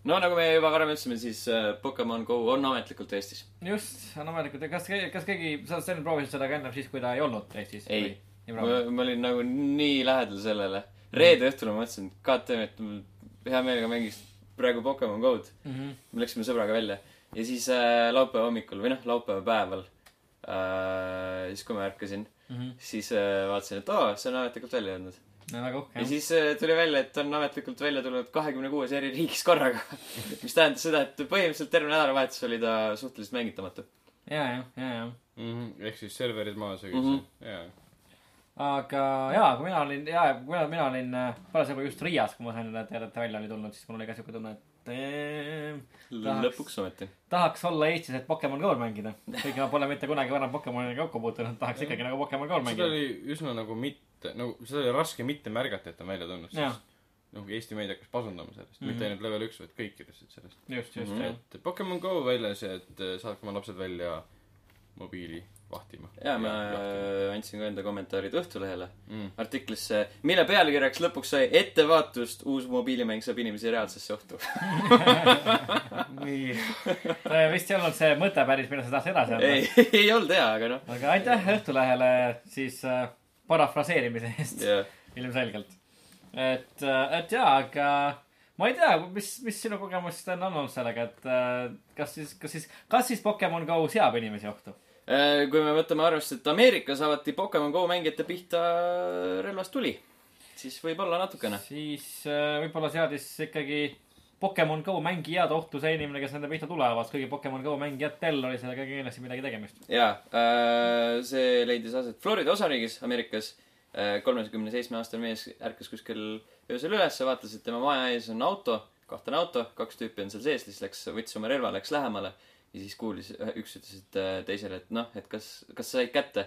no nagu me juba varem ütlesime , siis äh, Pokemon Go on ametlikult Eestis .
just , on ametlikult , kas , kas keegi , sa , Sten proovisid seda ka ennem siis , kui ta ei olnud Eestis ?
ei ,
ei
ma
proovinud .
ma olin nagu nii lähedal sellele . reede õhtul ma mõtlesin , et KTM , et mul hea meelega mängiks praegu Pokemon Go'd .
Mhm.
me läksime sõbraga välja ja siis äh, laupäeva hommikul või noh , laupäeva päeval äh, , siis kui ma ärkasin , siis äh, vaatasin , et aa , see on ametlikult välja jäänud .
väga uhke
ja . siis äh, tuli välja , et on ametlikult välja tulnud kahekümne kuues eri riigis korraga . mis tähendas seda , et põhimõtteliselt terve nädalavahetus oli ta suhteliselt mängitamatu .
ja , ja , ja , ja
mm . -hmm. ehk siis serverid maas ja kõik
Mhm.
see , jaa .
aga jaa , kui mina olin , jaa , kui mina, mina olin äh, parasjagu just Riias , kui ma sain teada , et ta välja oli tulnud , siis mul oli ka siuke tunne , et ehm, Tahaks.
lõpuks ometi .
tahaks olla Eestis , et Pokemon Go'l mängida . kuigi ma pole mitte kunagi varem Pokemoniga kokku puutunud , tahaks ikkagi nagu Pokemon Go'l
seda
mängida .
oli üsna nagu mitte , nagu seda oli raske mitte märgata , et ta on välja tulnud ,
jah
sest , nagu Eesti meedia hakkas pasundama sellest mm ,
Mhm.
-hmm. mitte ainult level üks , vaid kõik kirjutasid sellest .
just , just mm , -hmm.
et Pokemon Go väljas ja et äh, saatke oma lapsed välja mobiili vahtima .
ja ma äh, andsin ka enda kommentaarid Õhtulehele
Mm.
artiklisse , mille pealkirjaks lõpuks sai ettevaatust , uus mobiilimäng saab inimesi reaalsesse ohtu .
nii .
jah . vist ei olnud see mõte päris , mida sa tahtsid edasi anda .
ei , ei olnud hea , aga noh ,
aga aitäh Õhtulehele siis äh, parafraseerimise eest
jah .
ilmselgelt . et , et jaa , aga ma ei tea , mis , mis sinu kogemus on olnud sellega , et äh, kas siis , kas siis , kas siis Pokemon Go seab inimesi ohtu ?
Äh, kui me võtame arvesse , et Ameerikas avati Pokemon Go mängijate pihta relvastuli , siis võib-olla natukene .
siis äh, võib-olla seadis ikkagi Pokemon Go mängijad ohtu see inimene , kes nende pihta tulevad , kuigi Pokemon Go mängijatel oli sellega kindlasti midagi tegemist .
jaa , see leidis aset Florida osariigis Ameerikas . kolmekümne seitsme aastane mees ärkas kuskil öösel üles , vaatas , et tema maja ees on auto , kahtlane auto , kaks tüüpi on seal sees , siis läks , võttis oma relva , läks lähemale ja siis kuulis , üks ütles , et äh, teisele , et noh , et kas , kas sa said kätte .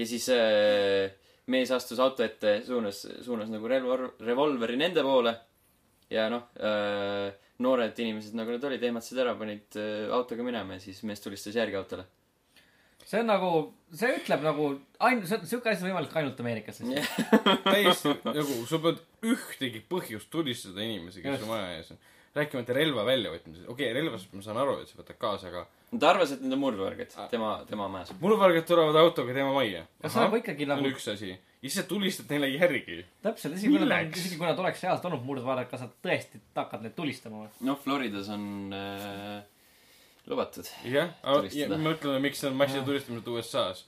ja siis äh, mees astus auto ette , suunas , suunas nagu relva , revolveri nende poole ja noh , äh, noored inimesed , nagu nad olid , ehmatasid ära , panid äh, autoga minema ja siis mees tulistas järgi autole .
see on nagu , see ütleb nagu ainult , siuke asi on võimalik ainult Ameerikas vist yeah. .
täiesti nagu sa pead ühtegi põhjust tulistada inimesi , kes
Just.
su maja ees on . rääkimata relva väljavõtmisest . okei okay, , relvast ma saan aru , et sa võtad kaasa , aga
ta arvas , et need on murdvargad
Ah.
tema , tema majas .
murvargad tulevad autoga tema majja .
Kas see on nagu ikkagi
see on
nagu-
üks asi . ja siis sa tulistad neile järgi .
täpselt , isegi kui nad ,
Milleks?
isegi kui nad oleks reaalselt olnud murdvarad , kas nad tõesti hakkavad neid tulistama või ?
noh , Floridas on äh, lubatud .
jah , aga
Tulistada.
mõtleme , miks on massilise tulistamised USA-s .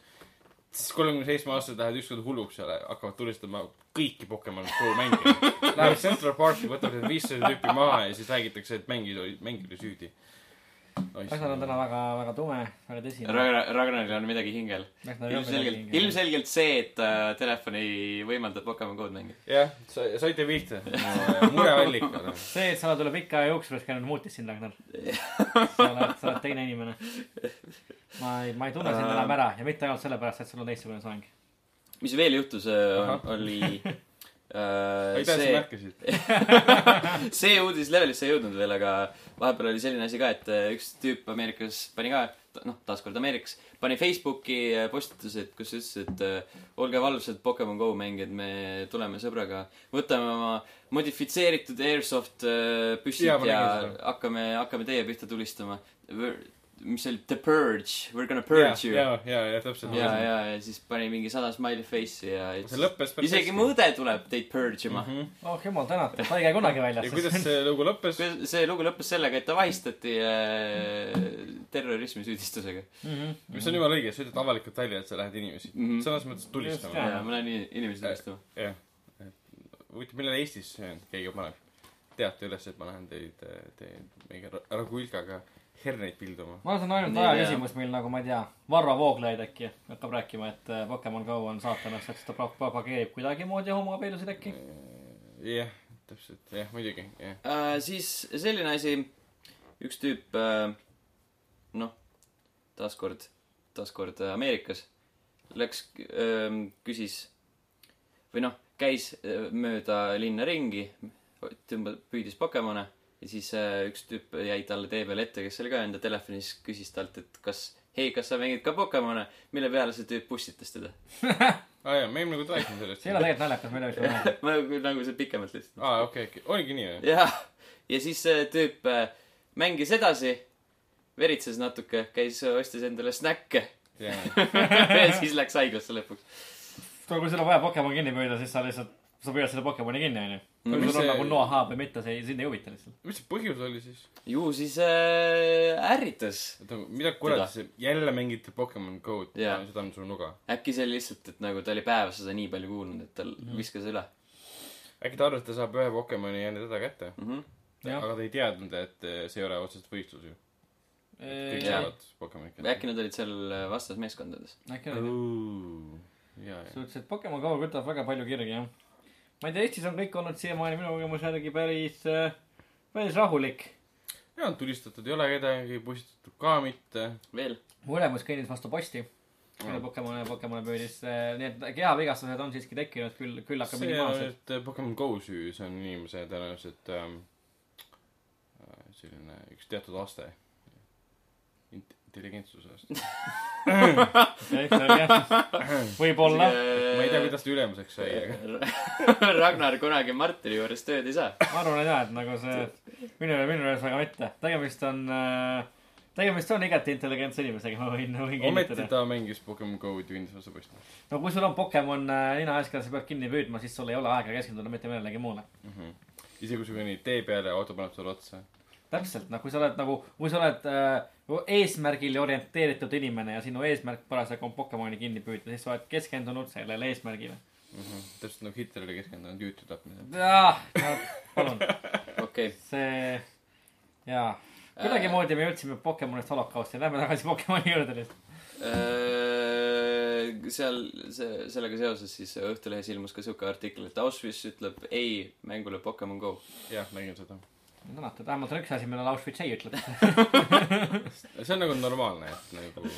siis kolmekümne seitsme aastased lähevad ükskord hulluks seal , hakkavad tulistama kõiki Pokemon Go mänge . Läheb Central Parki , võtab need viissada tüüpi maha ja siis räägitakse , et mängijad olid , mängijad olid süüdi .
Ragnar on täna väga , väga tume , väga tõsine .
Ragnar , Ragnaril on midagi hingel .
Ragnaril on midagi
ilmselgelt ,
hingel.
ilmselgelt see , et äh, telefon ei võimalda Pokemon Go'd mängida .
jah , sa , saite viite . mureallikad on .
see , et sa oled üle pika aja jooksul käinud , muutis sind , Ragnar . sa oled , sa oled teine inimene . ma ei , ma ei tunne sind enam ära ja mitte ainult sellepärast , et sul on teistsugune soeng .
mis veel juhtus ,
Ahah.
oli äh,
aitäh , et sa
see ,
märkasid .
see uudis levelisse ei jõudnud veel , aga vahepeal oli selline asi ka , et äh, üks tüüp Ameerikas pani ka , noh , taaskord Ameerikas , pani Facebooki äh, postitused , kus ütles , et äh, olge valvsad , Pokemon Go mängijad , me tuleme sõbraga , võtame oma modifitseeritud airsoft äh, püssid ja,
Jaa, ma
ja
nägin seda.
hakkame , hakkame teie pihta tulistama . mis see oli , The Purge , We are gonna purge you . ja ,
ja , ja , ja täpselt .
ja , ja siis pani mingi sada smiley face'i ja
see lõppes päris Mhm.
isegi mu õde tuleb teid purge ima .
oh jumal tänatud , ta ei käi kunagi väljas .
ja kuidas see lugu lõppes ?
see see lugu lõppes sellega , et ta vahistati äh, terrorismi süüdistusega .
Mhm.
mis on jumala õige , sa ütled avalikult välja , et sa lähed inimesi
Mhm.
sõnas mõttes tulistama
Just, .
ma lähen in- inimesi tulistama .
jah . huvitav , millal Eestis see keegi paneb teate üles , et ma lähen teid , teid mingi ra- ragulkaga herneid pilduma .
ma saan ainult
Nii,
aja
jah.
küsimus , mil nagu ma ei tea , Varro Vooglaid äkki hakkab rääkima , et äh, Pokemon Go on saatanast , et ta pro- propageerib kuidagimoodi homoabielusid äkki .
Äh, jah , täpselt , jah , muidugi , jah .
Äh, siis selline asi , üks tüüp äh, , noh , taaskord , taaskord äh, Ameerikas , läks , küsis või noh , käis äh, mööda linna ringi , tõmbas , püüdis Pokemone ja siis äh, üks tüüp jäi talle tee peal ette , kes oli ka enda telefonis , küsis talt , et kas , hei , kas sa mängid ka Pokemone , mille peale see tüüp pussitas teda .
aa Ah, jaa , me eelmine kord rääkisime sellest
see ei . ole tegelikult naljakas , ma ei tea , mis ma räägin .
ma nagu , nagu see pikemalt lihtsalt .
aa , okei , okei , oligi nii või ?
jah , ja siis see tüüp äh, mängis edasi , veritses natuke , käis , ostis endale snäkke
jaa ,
ja siis läks haiglasse lõpuks .
kui sul on vaja Pokemon kinni püüda , siis sa lihtsalt , sa püüad selle Pokemoni kinni , onju .
No
kui
mis
sul on
see-
nagu noahaab või mitte , see ei , sind ei huvita lihtsalt .
mis see põhjus oli siis ?
ju siis äh, ärritas .
oota , mida kuradi see , jälle mängite Pokemon Go'd
Jaa.
seda on sul nuga .
äkki see oli lihtsalt , et nagu ta oli päevas seda nii palju kuulnud , et ta
Mhm.
mm. viskas üle
äkki ta arvas , et ta saab ühe Pokemoni ja enda teda kätte .
mm . -hmm.
jah ,
aga ta ei teadnud , et eh, see ei ole otseselt võistlus ju . kõik
jaa.
saavad Pokemoni kätte .
äkki nad olid seal äh, vastas meeskondades .
äkki oli .
jaa , jaa
sa . ütlesid , et Pokemon Go kütab väga palju kirgi , jah . ma ei tea , Eestis on kõik olnud siiamaani minu kogemuse järgi päris , päris rahulik .
jaa , tulistatud ei ole kedagi , pussitatud ka mitte .
veel ?
mu ülemus kõndis vastu posti selle Pokemoni , Pokemoni püüdis , nii et kehavigastused on siiski tekkinud küll , küll aga
see on
minimaalsed .
nüüd eh, Pokemon Go süü , see on inimese tõenäoliselt ähm, äh, selline üks teatud aste . intelligentsuse aste .
võib-olla .
ma ei tea , kuidas ta ülemuseks sai , aga .
äh, Ragnar kunagi Martini juures tööd ei saa .
ma arvan , et jah , et nagu see , minu , minu jaoks väga mitte . tegemist on , tegemist on igati intelligentse inimesega , ma võin , võin
ometi
kinnitada .
ta mängis Pokemon Go'd ju endise osa poistel .
no kui sul on Pokemon äh, nina ees , keda sa pead kinni püüdma , siis sul ei ole aega keskenduda mitte millelegi muule .
Mhm. isegi kui sa kõnnid tee peale ja auto paneb sulle otsa .
täpselt , noh , kui sa oled nagu , kui sa oled äh, eesmärgile orienteeritud inimene ja sinu eesmärk parasjagu on Pokemoni kinni püüda , siis sa oled keskendunud sellele eesmärgile .
täpselt nagu Hitler oli keskendunud juuti tapmisele .
jah , palun ,
okei okay. ,
see , jaa . kuidagimoodi me jõudsime Pokemonist holokausti , lähme tagasi Pokemoni juurde lihtsalt .
Äh, seal see , sellega seoses siis Õhtulehes ilmus ka siuke artikkel , et Auschwitz ütleb ei mängule Pokemon Go .
jah , nägin seda .
tänatud , vähemalt on üks asi , millele Auschwitz ei ütle .
see on nagu normaalne , et nagu ,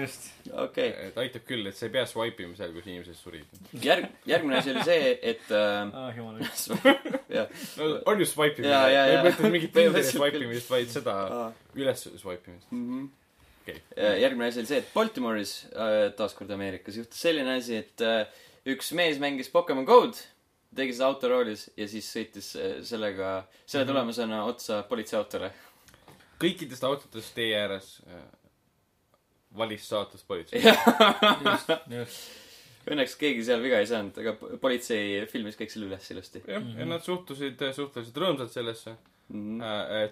just ,
okei okay. ,
et aitab küll , et sa ei pea swipe ima seal , kus inimesed surid .
järg , järgmine asi oli see , et äh,
ah jumal õige .
jah ,
no on ju swipe
Jaa,
imine ,
jaa,
ei
jaa.
mõtle mingit Tinderi
Põhimõtteliselt
swipe imist , vaid seda
Aa.
üles swipe imist .
mm -hmm.
okei .
Ja järgmine asi oli see , et Baltimoris , taaskord Ameerikas , juhtus selline asi , et äh, üks mees mängis Pokemon Go'd , tegi seda autoroolis ja siis sõitis äh, sellega , selle tulemusena otsa politseiautole .
kõikidest autodest tee ääres äh, valis saatus politsei .
just , just .
Õnneks keegi seal viga ei saanud , aga po- politsei filmis kõik selle üles ilusti .
jah , ja nad suhtusid , suhteliselt rõõmsalt sellesse .
Mhm.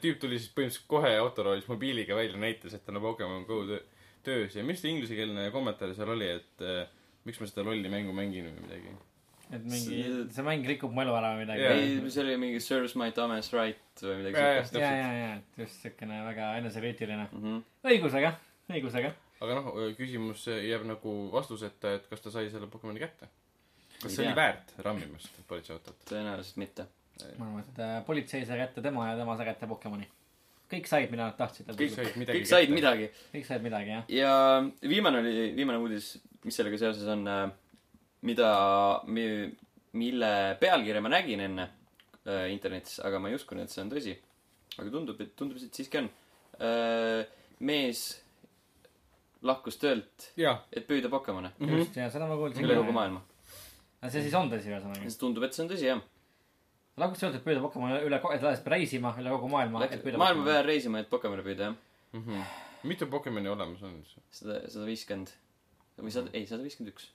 tüüp tuli siis põhimõtteliselt kohe autoroolis mobiiliga välja , näitas , et tal on Pokemon Go töö- töös ja mis see inglisekeelne kommentaar seal oli , et äh, miks ma seda lolli mängu mängin või midagi .
et mingi , see mäng rikub mu elu ära või midagi
Jaa.
ei , see oli mingi Serves my dumbass right või midagi
Jaa,
siukest .
ja , ja , ja , et just siukene väga enesekriitiline .
Mhm.
õigusega , õigusega .
aga noh , küsimus jääb nagu vastuseta , et kas ta sai selle Pokemoni kätte . kas
Ei
see oli
tea.
väärt rammimast politseiautot ?
tõenäoliselt mitte .
ma arvan , et äh, politsei sai kätte tema ja tema sai kätte Pokemoni . kõik said , mida nad tahtsid .
kõik said midagi
kõik said . midagi .
kõik said midagi , jah .
ja viimane oli , viimane uudis , mis sellega seoses on , mida , mille pealkirja ma nägin enne äh, internetis , aga ma ei uskunud , et see on tõsi . aga tundub , et tundub , et siiski on . mees lahkus töölt ,
jaa ,
et püüda Pokemone
Mhm.
just , ja seda ma kuulsin
Mhm. üle kogu . maailma .
aga see siis on tõsi , ühesõnaga .
siis tundub , et see on tõsi , jah .
lahkus sealt , et püüda Pokemoni üle , et läks reisima üle kogu maailma .
Läks maailma . peal reisima , et Pokemone püüda , jah .
mitu Pokemoni olemas on siis ?
sada , sada viiskümmend või sada , ei , sada viiskümmend üks .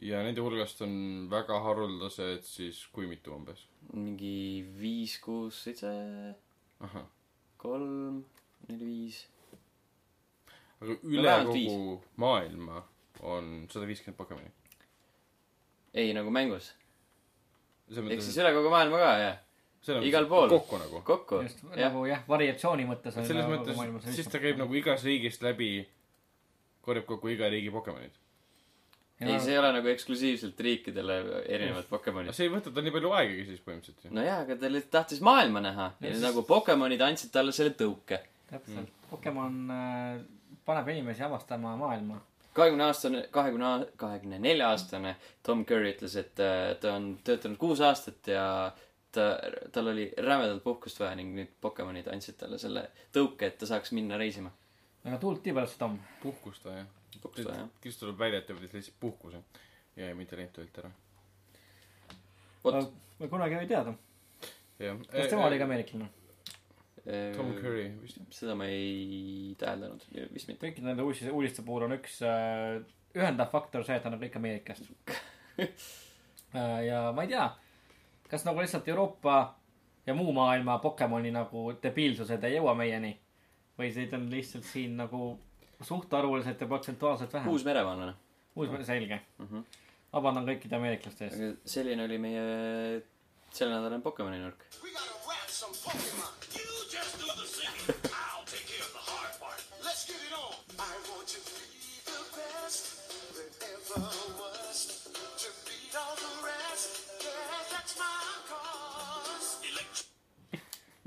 ja nende hulgast on väga haruldased siis kui mitu umbes ?
mingi viis , kuus , seitse ,
ahah ,
kolm , neli , viis
aga üle
vähemalt
kogu
viis. maailma
maailma on sada viiskümmend Pokemoni .
ei , nagu mängus .
selles
ehk
mõttes ,
siis üle kogu maailma ka , jah .
et selles
igal
mõttes
pool.
kokku nagu .
kokku , nagu
just ,
jah .
nagu jah , variatsiooni mõttes .
et selles mõttes , siis ta käib . nagu igast riigist läbi , korjab kokku iga riigi Pokemonid .
ei , see ei ole nagu eksklusiivselt riikidele erinevad
aga
Pokemonid .
see ei võta tal nii palju aegagi siis põhimõtteliselt ju .
nojah , aga ta lihtsalt tahtis maailma näha ja,
Ja
ja
siis-
siis... nagu Pokemonid andsid talle selle tõuke .
täpselt , Pokemon äh, paneb inimesi avastama maailma .
kahekümne aastane , kahekümne , kahekümne nelja aastane Tom Curry ütles , et äh, ta on töötanud kuus aastat ja ta , tal oli rämedalt puhkust vaja ning nüüd Pokemonid andsid talle selle tõuke , et ta saaks minna reisima .
aga tuult nii palju , Tom .
puhkust või ?
Puhkust vaja, jah.
siis tuleb välja , et ta võttis lihtsalt puhkuse ja ei mitte läinud töölt ära .
vot ,
me kunagi ei tea , Tom .
jah .
kas tema oli ka ameeriklane ?
Tom Curry vist .
äh, seda ma ei täheldanud , vist mitte .
kõikide nende uus- , uudiste puhul on üks äh, ühendav faktor see , et nad on kõik Ameerikast äh, . ja ma ei tea , kas nagu lihtsalt Euroopa ja muu maailma Pokemoni nagu debiilsused ei jõua meieni või neid on lihtsalt siin nagu suhtarvuliselt ja protsentuaalselt vähem . uus ,
Uus-Meremaa ,
selge mm
Mhm. .
vabandan kõikide ameeriklaste eest .
aga selline oli meie selle nädala Pokemoni nurk .
We gotta rap some Pokemon. You just do the singing. I'll take care of the hard part. Let's get it on. I want you to be the best that ever was. To beat all the rest. Yeah, that's my cause. Electric.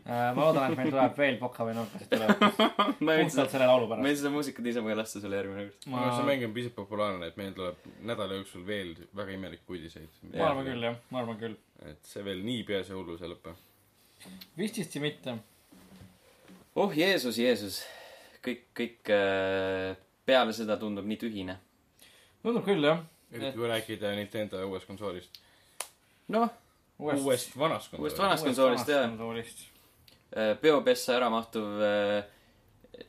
Äh, ma loodan , et meil tuleb veel Pokemoni nurkasid tulevikus .
ma ei
puhtalt selle laulu pärast .
meil seda muusikat niisama ei lasta sulle järgmine kord .
ma arvan , see mäng on piisavalt populaarne , et meil tuleb nädala jooksul veel väga imelikke uudiseid .
ma arvan küll , jah , ma arvan küll .
et see veel niipea see hullus ei lõpe .
vististi mitte
oh Jeesus , Jeesus . kõik , kõik äh, peale seda tundub nii tühine .
tundub küll jah .
eriti kui rääkida Nintendo uuest konsoolist .
noh ,
uuest ,
uuest vanast
uuest
konsoolist .
vanast konsoolist jah .
konsoolist .
peopessa ära mahtuv äh,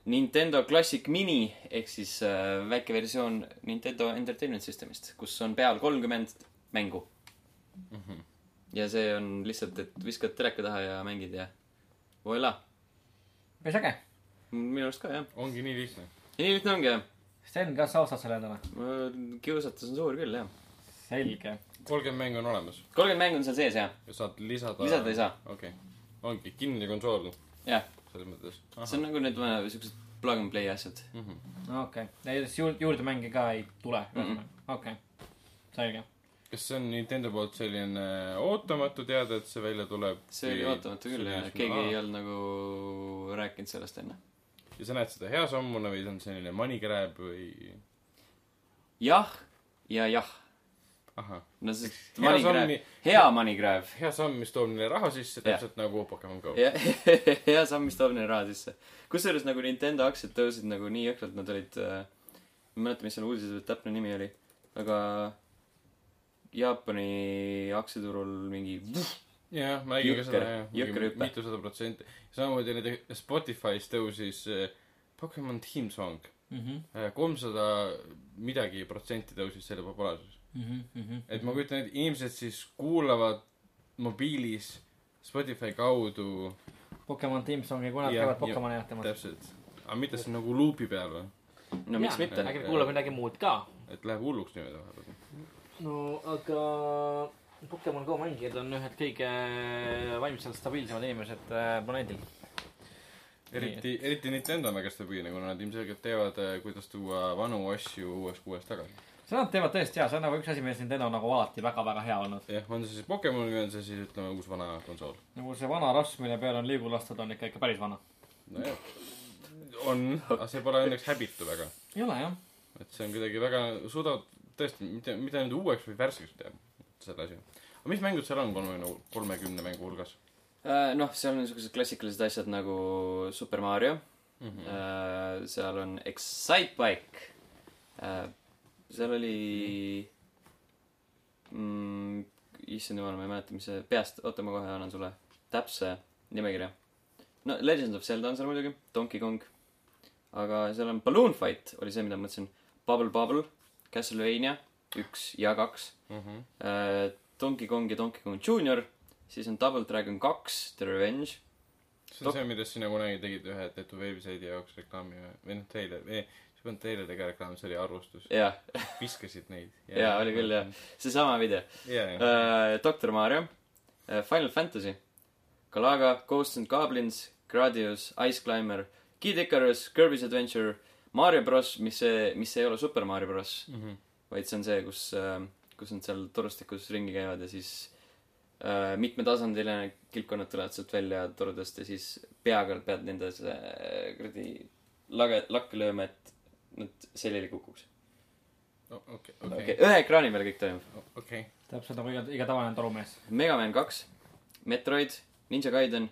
Nintendo Classic Mini ehk siis äh, väike versioon Nintendo Entertainment Systemist , kus on peal kolmkümmend mängu . Mhm. ja see on lihtsalt , et viskad teleka taha ja mängid ja voilà .
päris äge .
minu arust ka jah .
ongi nii lihtne .
nii lihtne ongi jah .
Sten , kas sa ostad selle endale ?
kiusatus on suur küll jah .
selge .
kolmkümmend mängu on olemas
kolmkümmend mängu on seal sees jah ,
ja saad lisada .
Lisada ei saa.
okei okay. , ongi kinni konsool noh,
jah .
selles mõttes .
see on nagu need äh, siuksed plug and play asjad .
okei , juurde , juurdemänge ka ei tule . okei , selge .
kas see on Nintendo poolt selline ootamatu teade , et see välja tuleb ?
see oli ootamatu küll jah , keegi ei olnud nagu rääkinud sellest enne .
ja sa näed seda hea sammuna või see on selline money grab või ?
jah ja jah .
ahah .
no sest
Hea
money grab
sammi- ,
hea money grab .
hea samm , mis toob neile raha sisse ,
Jah.
täpselt nagu Pokemon Go .
hea samm , mis toob neile raha sisse . kusjuures nagu Nintendo aktsiad tõusid nagu nii jõhkralt , nad olid äh, , ma ei mäleta , mis selle uudise täpne nimi oli , aga Jaapani aktsiaturul mingi
jah , ma nägin ka
Jõkker.
seda jah
Jõkker . hüpe.
mitusada protsenti . samamoodi nende Spotify's tõusis eh, Pokemon Theme Song .
Mhm.
kolmsada midagi protsenti tõusis selle populaarsus .
Mhm.
et ma kujutan ette , inimesed siis kuulavad mobiilis Spotify kaudu
Pokemon Teamsongi , kuna nad
Jah,
käivad
jah,
Pokemoni jahtamas .
täpselt . aga mitte see on nagu luubi peal või ?
no miks mitte .
äkki ta kuulab midagi muud ka .
et läheb hulluks niimoodi vahepeal .
no aga Pokemon Go mängijad on ühed kõige vaimselt stabiilsemad inimesed äh, planeedil .
eriti , eriti Nintendo on väga stabiilne , kuna nad ilmselgelt teavad , kuidas tuua vanu asju uuest kuuest tagasi .
seda nad teevad tõesti hea , see on nagu üks asi , milles Nintendo on nagu alati väga-väga hea olnud .
jah , on see siis Pokemon või on see siis ütleme uus-vana konsool .
nagu see vana rasv , mille peale on liigu lastud , on ikka , ikka päris vana .
nojah , on , aga see pole õnneks häbitu väga .
ei ole jah .
et see on kuidagi väga , suudavad tõesti , mitte , mitte nüüd uueks või värskeks teha selle asja . aga mis mängud seal on kolmekümne , kolmekümne mängu hulgas ?
noh , seal on niisugused klassikalised asjad nagu Super Mario mm . -hmm. seal on Excitebike . seal oli mm, , issand jumal , ma ei mäleta , mis see peast , oota , ma kohe annan sulle täpse nimekirja . no Legend of Zelda on seal muidugi , Donkey Kong . aga seal on Balloon Fight oli see , mida ma mõtlesin . Bubble Bubble , Castlevania üks ja kaks Äh, Donkey Kong ja Donkey Kong Junior , siis on Double Dragon kaks , The Revenge .
see on see , millest sina kunagi tegid ühe tätoveerimisheidi jaoks reklaami või , või noh , teile , ei , see ei olnud teile tegelikult reklaam , see oli arvustus .
jah ,
viskasid neid .
jaa , oli küll jah ., Äh. seesama video .
jaa , jaa .
Doktor Mario , Final Fantasy , Galaga , Ghosts and Goblins , Gradius , Ice Climber , Kid Icarus , Kirby's Adventure , Mario bros , mis see , mis ei ole Super Mario bros ,
Mhm.
vaid see on see , kus , kus nad seal torustikus ringi käivad ja siis äh, mitmetasandiline kilpkonnad tulevad sealt välja torudest ja siis peaga pead nende selle äh, kuradi lage , lakke lööma , et nad seljali kukuks .
okei ,
okei
okei ,
okay. , ühe ekraani peal kõik toimub .
okei .
täpselt nagu iga , iga tavaline torumees .
Mega Man kaks , Metroid , Ninja Gaiden ,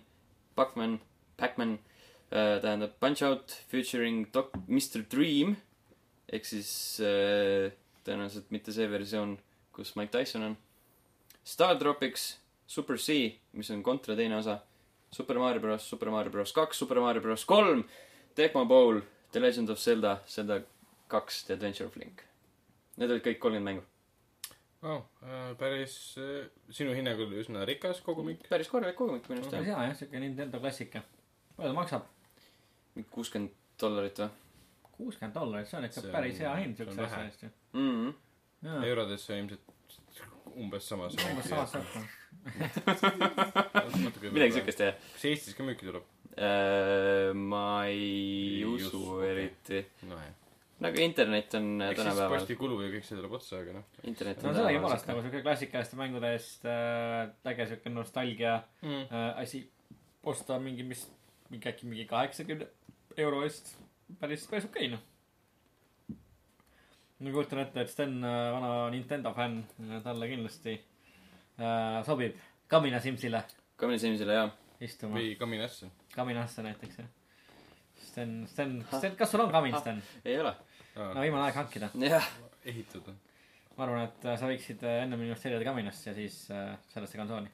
Pac-Man , Pac-Man äh, , tähendab Punch Out featuring Doc- , Mr Dream ehk siis äh, tõenäoliselt mitte see versioon , kus Mike Tyson on . Star Tropics , Super C , mis on kontra teine osa , Super Mario Bros , Super Mario Bros kaks , Super Mario Bros kolm , Tecmo Bowl , The Legend of Zelda , Zelda kaks , The Adventure of Link . Need olid kõik kolmkümmend mängu .
päris äh, sinu hinnangul üsna rikas kogumik .
päris korralik kogumik minu arust jah .
hea jah , siuke Nintendo klassika . palju ta maksab ?
mingi kuuskümmend dollarit või
kuuskümmend dollarit , see on ikka
See on-
päris hea hind
see on
siukse asja
vähe.
eest ju .
mm ? -hmm.
jaa ,
eurodes see ilmselt umbes sama .
umbes samas saab .
midagi . siukest jah
kas Eestis ka müüki tuleb ?
äh, . ma ei,
Ei
ei usu
usu,
okay.
okei.
eriti .
nojah .
nagu internet on äh,
eks siis
tänapäeval ,
postikulu ja kõik see tuleb otsa , aga noh
internet
no
on
sellegipoolest
siuke-
nagu siuke klassikaliste mängude eest äh, äge siuke nostalgia
mm. .
äh, asi . osta mingi , mis , mingi äkki mingi kaheksakümne euro eest , päris , päris okei noh . ma kujutan ette , et Sten , vana Nintendo fänn , talle kindlasti äh, sobib Kamina Simsile
Kamini Simsile jaa .
istuma .
või kaminasse .
Kaminasse näiteks jah . Sten , Sten , Sten , kas sul on kamin , Sten ?
ei ole .
no viimane aeg hankida .
jah ,
ehitada .
ma arvan , et äh, sa võiksid äh, ennem investeerida kaminasse ja siis äh, sellesse konsooli .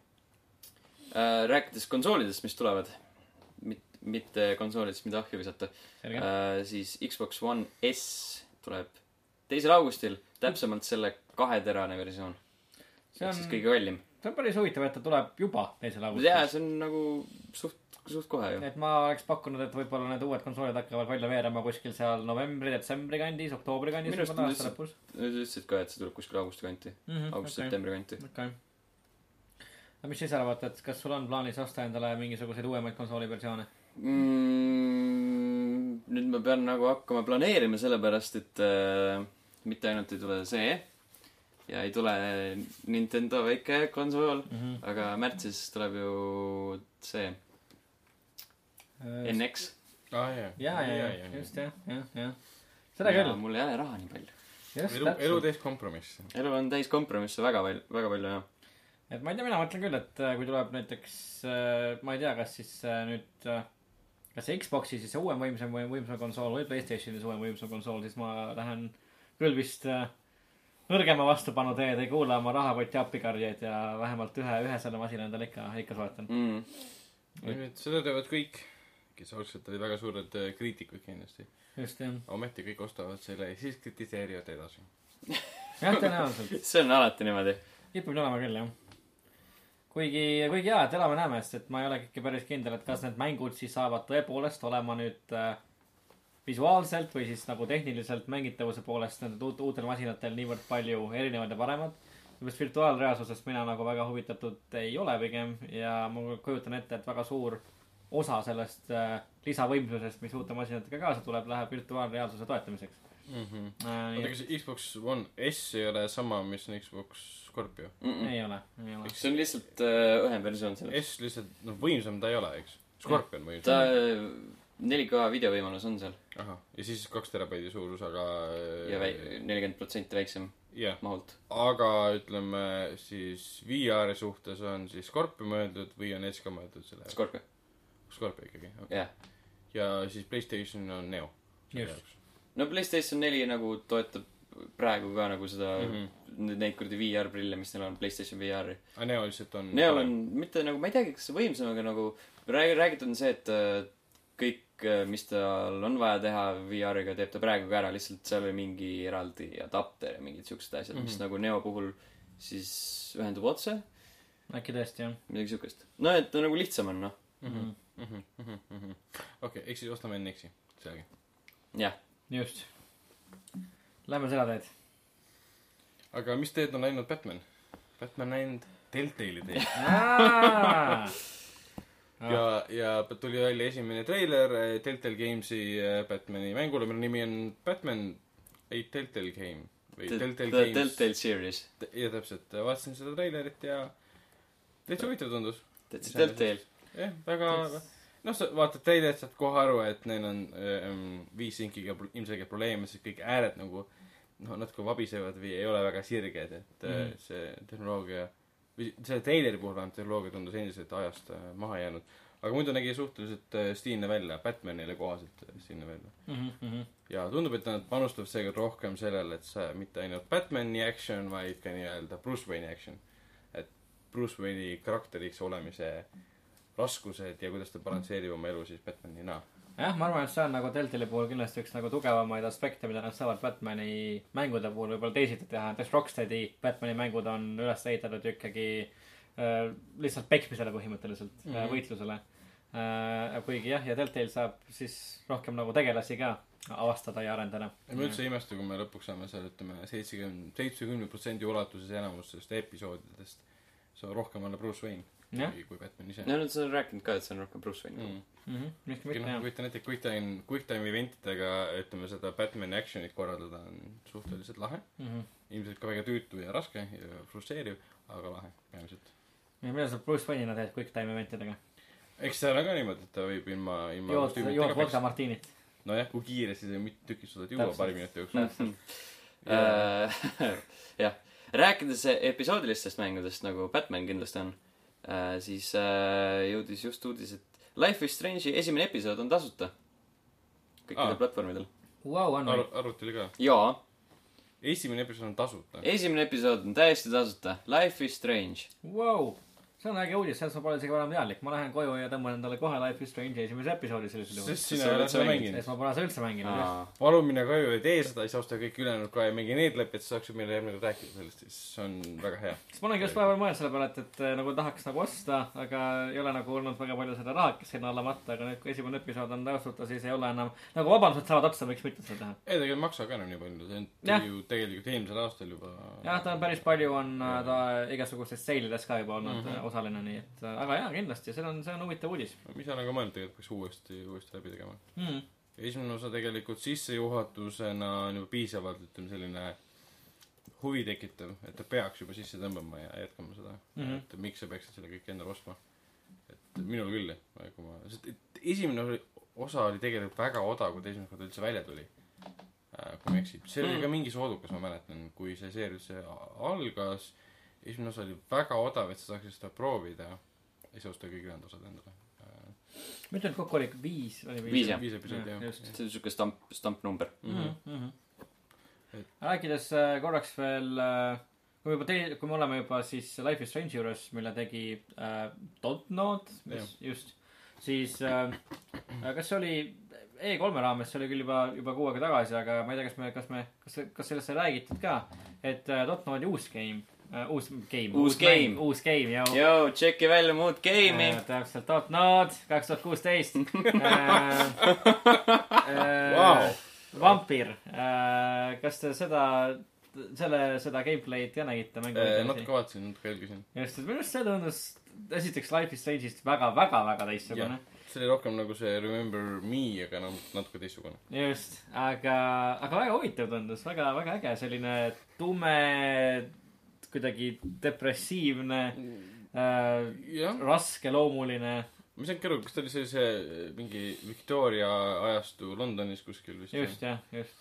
äh, rääkides konsoolidest , mis tulevad , mit- , mitte konsoolidest , mida ahju visata
selge äh, .
äh, , siis Xbox One S tuleb teisel augustil , täpsemalt selle kaheterane versioon .
see
ehk
on
siis , kõige kallim .
see on päris huvitav , et ta tuleb juba teisel
jaa ,
augustil .
see on nagu suht , suht kohe ju .
et ma oleks pakkunud , et võib-olla need uued konsoolid hakkavad välja veerema kuskil seal novembri , detsembri kandis , oktoobri kandis ,
Minu arust
võib-olla
nad
aasta lõpus .
Nad ütlesid ka , et see tuleb kuskil augusti kanti , august-septembri kanti .
Mm-hmm, okei . aga mis sa ise arvad , et kas sul on plaanis osta endale mingisuguseid uuemaid konsooliversioone ?
mm, . nüüd ma pean nagu hakkama planeerima , sellepärast et äh, mitte ainult ei tule see ja ei tule Nintendo väike konsool , aga märtsis tuleb ju see NX .
aa jaa .
Äh, ja , ja , ja , just jah , jah , jah . seda küll .
mul ei ole raha nii palju .
just
elu , elu
täpselt .
teeb kompromisse .
elu on täis kompromisse väga palju , väga palju jah .
et ma ei tea , mina mõtlen küll , et äh, kui tuleb näiteks , ma ei tea , kas siis äh, nüüd , kas see Xbox'i siis see uuem võimsam või võimsam konsool või Playstationi see uuem võimsam konsool , siis ma lähen küll vist äh, nõrgema vastupanu teed , ei kuula oma rahakoti appikarjeid ja vähemalt ühe , ühe selle masina endale ikka , ikka soetan .
mm. .
seda teevad kõik , kes algselt olid väga suured äh, kriitikud kindlasti .
just jah ,
ometi kõik ostavad selle ja siis kritiseerivad edasi .
jah tõenäoliselt ,
see on alati niimoodi .
kipub nii olema küll jah kuigi , kuigi jaa , et elame-näeme , sest et ma ei olegi ikka päris kindel , et kas need mängud siis saavad tõepoolest olema nüüd äh, visuaalselt või siis nagu tehniliselt mängitavuse poolest nendel uut- uutel masinatel niivõrd palju erinevad ja paremad . sest virtuaalreaalsusest mina nagu väga huvitatud ei ole pigem ja ma kujutan ette , et väga suur osa sellest äh, lisavõimsusest , mis uute masinatega kaasa tuleb , läheb virtuaalreaalsuse toetamiseks
oota ,
äh, . nii
kas Xbox One S ei ole sama , mis on Xbox Scorpio ?
et ei ole , ei ole .
see on lihtsalt äh, õhem versioon sellest .
S lihtsalt , noh , võimsam ta ei ole , eks . Scorpion
ta
võimsam .
4K videovõimalus on seal
ahah , ja siis kaks terabaidi suurus , aga
ja nelikümmend protsenti väiksem
jah ,
mahult .
aga ütleme siis VR-i suhtes on siis Scorpio mõeldud või on S ka mõeldud selle jaoks ?
Scorpio ,
Scorpio ikkagi , okei .
jah .
ja siis Playstation on Neo .
Just. .
no PlayStation neli nagu toetab praegu ka nagu seda mm ,
Mhm.
-hmm. neid kuradi VR-prille , mis neil on , PlayStation VR-i .
aga Ah, Neo lihtsalt on .
Neol on mitte nagu , ma ei teagi , kas see võimsam , aga nagu räägi- , räägitud on see , et äh, kõik , mis tal on vaja teha VR-iga , teeb ta praegu ka ära , lihtsalt seal oli mingi eraldi adapter ja mingid siuksed asjad mm , -hmm.
Mhm.
mis nagu Neo puhul siis ühendub otse ,
äkki tõesti jah .
midagi siukest . no et ta nagu lihtsam on , noh .
Mhm, okei , ehk siis ostame NX-i , selge .
jah ,
just . Lähme seda teed .
aga mis teed on läinud Batman ? Batman on läinud Deltali teed ja , ja tuli välja esimene treiler eh, Deltal Gamesi eh, Batmani mängule , mille nimi on Batman , ei Deltal Game või
The
Deltal
the
Games .
Telltale Series ,
ja täpselt , vaatasin seda treilerit ja täitsa huvitav tundus .
täitsa Telltale .
jah , väga , noh , sa vaatad teile , saad kohe aru , et neil on ähm, viis sinkiga pro- ilmselgelt probleeme , sest kõik ääred nagu noh , natuke vabisevad või ei ole väga sirged , et mm
Mhm.
-hmm. see tehnoloogia või selle treileri puhul vähemalt tehnoloogia tundus endiselt ajast äh, maha jäänud . aga muidu nägi suhteliselt äh, stiilne välja , Batmanile kohaselt äh, stiilne välja .
Mhm,
ja tundub , et nad panustavad seekord rohkem sellele , et see mitte ainult Batmani action , vaid ka nii-öelda Bruce Wayne'i action . et Bruce Wayne'i karakteriks olemise raskused ja kuidas ta balansseerib oma elu siis Batmanina .
jah , ma arvan , et see on nagu Deltali puhul kindlasti üks nagu tugevamaid aspekte , mida nad saavad Batman'i mängude puhul võib-olla teisiti teha , näiteks Rocksteadi Batman'i mängud on üles ehitatud ju ikkagi äh, lihtsalt peksmisele põhimõtteliselt mm ,
Mhm.
-hmm. võitlusele äh, . kuigi jah , ja Deltal saab siis rohkem nagu tegelasi ka avastada ja arendada .
ma üldse ei imesta , kui me lõpuks saame seal ütleme seitsekümmend , seitsmekümne protsendi ulatuses enamustest episoodidest , see on rohkem alla Bruce Wayne
Jah.
kui, kui Batman ise
no nad on rääkinud ka , et see on rohkem Bruce Wayne mm.
mm. .
mhm, miks
Kui
mitte
noh ,
jah .
kujutan ette , quick time , quick time eventidega ütleme seda Batman'i action'it korraldada on suhteliselt lahe .
Mhm.
ilmselt ka väga tüütu ja raske ja frustreeriv , aga lahe peamiselt .
mida sa Bruce Wayne'ina teed quick time eventidega ?
eks seal on ka niimoodi , et ta võib ilma , ilma
jood , jood vodka
kostüümitega .
martiinit .
nojah , kui kiiresti sa mitte tükki suudad juua
Täpselt.
paari minuti jooksul .
Äh, jah , rääkides episoodilistest mängudest nagu Batman kindlasti on , siis äh, jõudis just uudis , et Life is Strange'i esimene episood on tasuta . kõikidel
Aa.
platvormidel .
Vau , on või ?
Ar- , arutelu ka .
jaa ,
esimene episood on tasuta .
esimene episood on täiesti tasuta , Life is Strange .
Vau , see on äge uudis , sellest ma pole isegi varem teadlik , ma lähen koju ja tõmban endale kohe Life is Strange'i esimese episoodi sellisel juhul .
sest
sa
sina ei
oled
ole seda
mänginud.
mänginud
sest . ma pole seda üldse mänginud .
palun mine koju ja tee seda , siis osta kõik ülejäänud ka ja mingi need läbi , et sa saaksid meile järgmine kord rääkida sellest , siis see on väga hea .
siis ma olengi just vahepeal mõelnud selle peale , et , et eh, nagu tahaks nagu osta , aga ei ole nagu olnud väga palju seda rahakest sinna alla matta , aga nüüd , kui esimene episood on tasuta , siis ei ole enam , nagu vabandused saavad otsa , miks mitte seda teha .
ei , ta ei maksa ka enam nii palju , see on
Jah.
ta ju tegelikult eelmisel aastal juba .
jah , ta on päris palju , on eh, ta igasugustes seilides ka juba olnud mm -hmm. osaline , nii et , aga jaa , kindlasti , see on , see on huvitav uudis
mis on aga mõelnud tegelikult peaks uuesti , uuesti läbi tegema .
hmm. .
esimene osa tegelikult sissejuhatusena on juba piisavalt , ütleme selline huvi tekitav , et ta peaks juba sisse tõmbama ja jätkama seda mm ,
Mhm.
-hmm. et miks sa peaksid selle kõik endale ostma . et minul küll , kui ma , sest et esimene oli, osa oli tegelikult väga odav , kui ta esimest korda üldse välja tuli . Äh, kui ma ei eksi . see oli ka mingi soodukas , ma mäletan , kui see seeria üldse a- algas , esimene osa oli väga odav , et sa saaksid seda proovida . ei saa osta kõik ülejäänud osad endale .
ma ütlen , et kokku oli viis , oli viis .
Viis, jah.
viis episoodi jah . Mhm.
just . Mhm.
see on siuke stamp , stampnumber . mhm.
Et-
rääkides äh, korraks veel , kui me juba tei- , kui me oleme juba siis Life is Strange juures , mille tegi äh, Dontnod , mis just , siis äh, kas see oli E3-e raames , see oli küll juba , juba kuu aega tagasi , aga ma ei tea , kas me , kas me , kas , kas sellest sai räägitud ka , et äh, Dontnodi uus game äh, , uus game ,
Uus game.
uus game ja
Joo , tšeki välja muud game'i .
Äh, täpselt , Dontnod kaks tuhat kuusteist . Äh,
Vau.
Vampir , kas te seda , selle , seda gameplay'd ka nägite mängu
natuke ? vaatasin , natuke jälgisin .
just , et minu arust see tundus esiteks Life is Strange'ist väga , väga , väga teistsugune .
see oli rohkem nagu see Remember me , aga noh , natuke teistsugune .
just , aga , aga väga huvitav tundus , väga , väga äge , selline tume , kuidagi depressiivne äh, ,
jah ,
raskeloomuline
ma ei saanud ka aru , kas ta oli see , see mingi Victoria ajastu Londonis kuskil vist ?
just jah , just .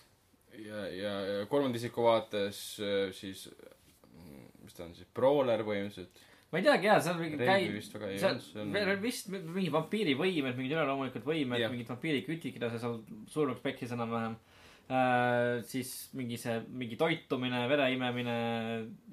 ja , ja , ja kolmanda isiku vaates äh, siis , mis ta on siis , brawler põhimõtteliselt .
ma ei teagi jaa , seal mingi
Relvi
käi-
vist väga ei
seal
olnud, see on-
veel on vist mi- mingi vampiirivõimed , mingid üleloomulikud võimed
Jah.
yeah. , mingid vampiirikütid , keda sa seal surnuks pekkis enam-vähem äh, . siis mingi see , mingi toitumine , vere imemine .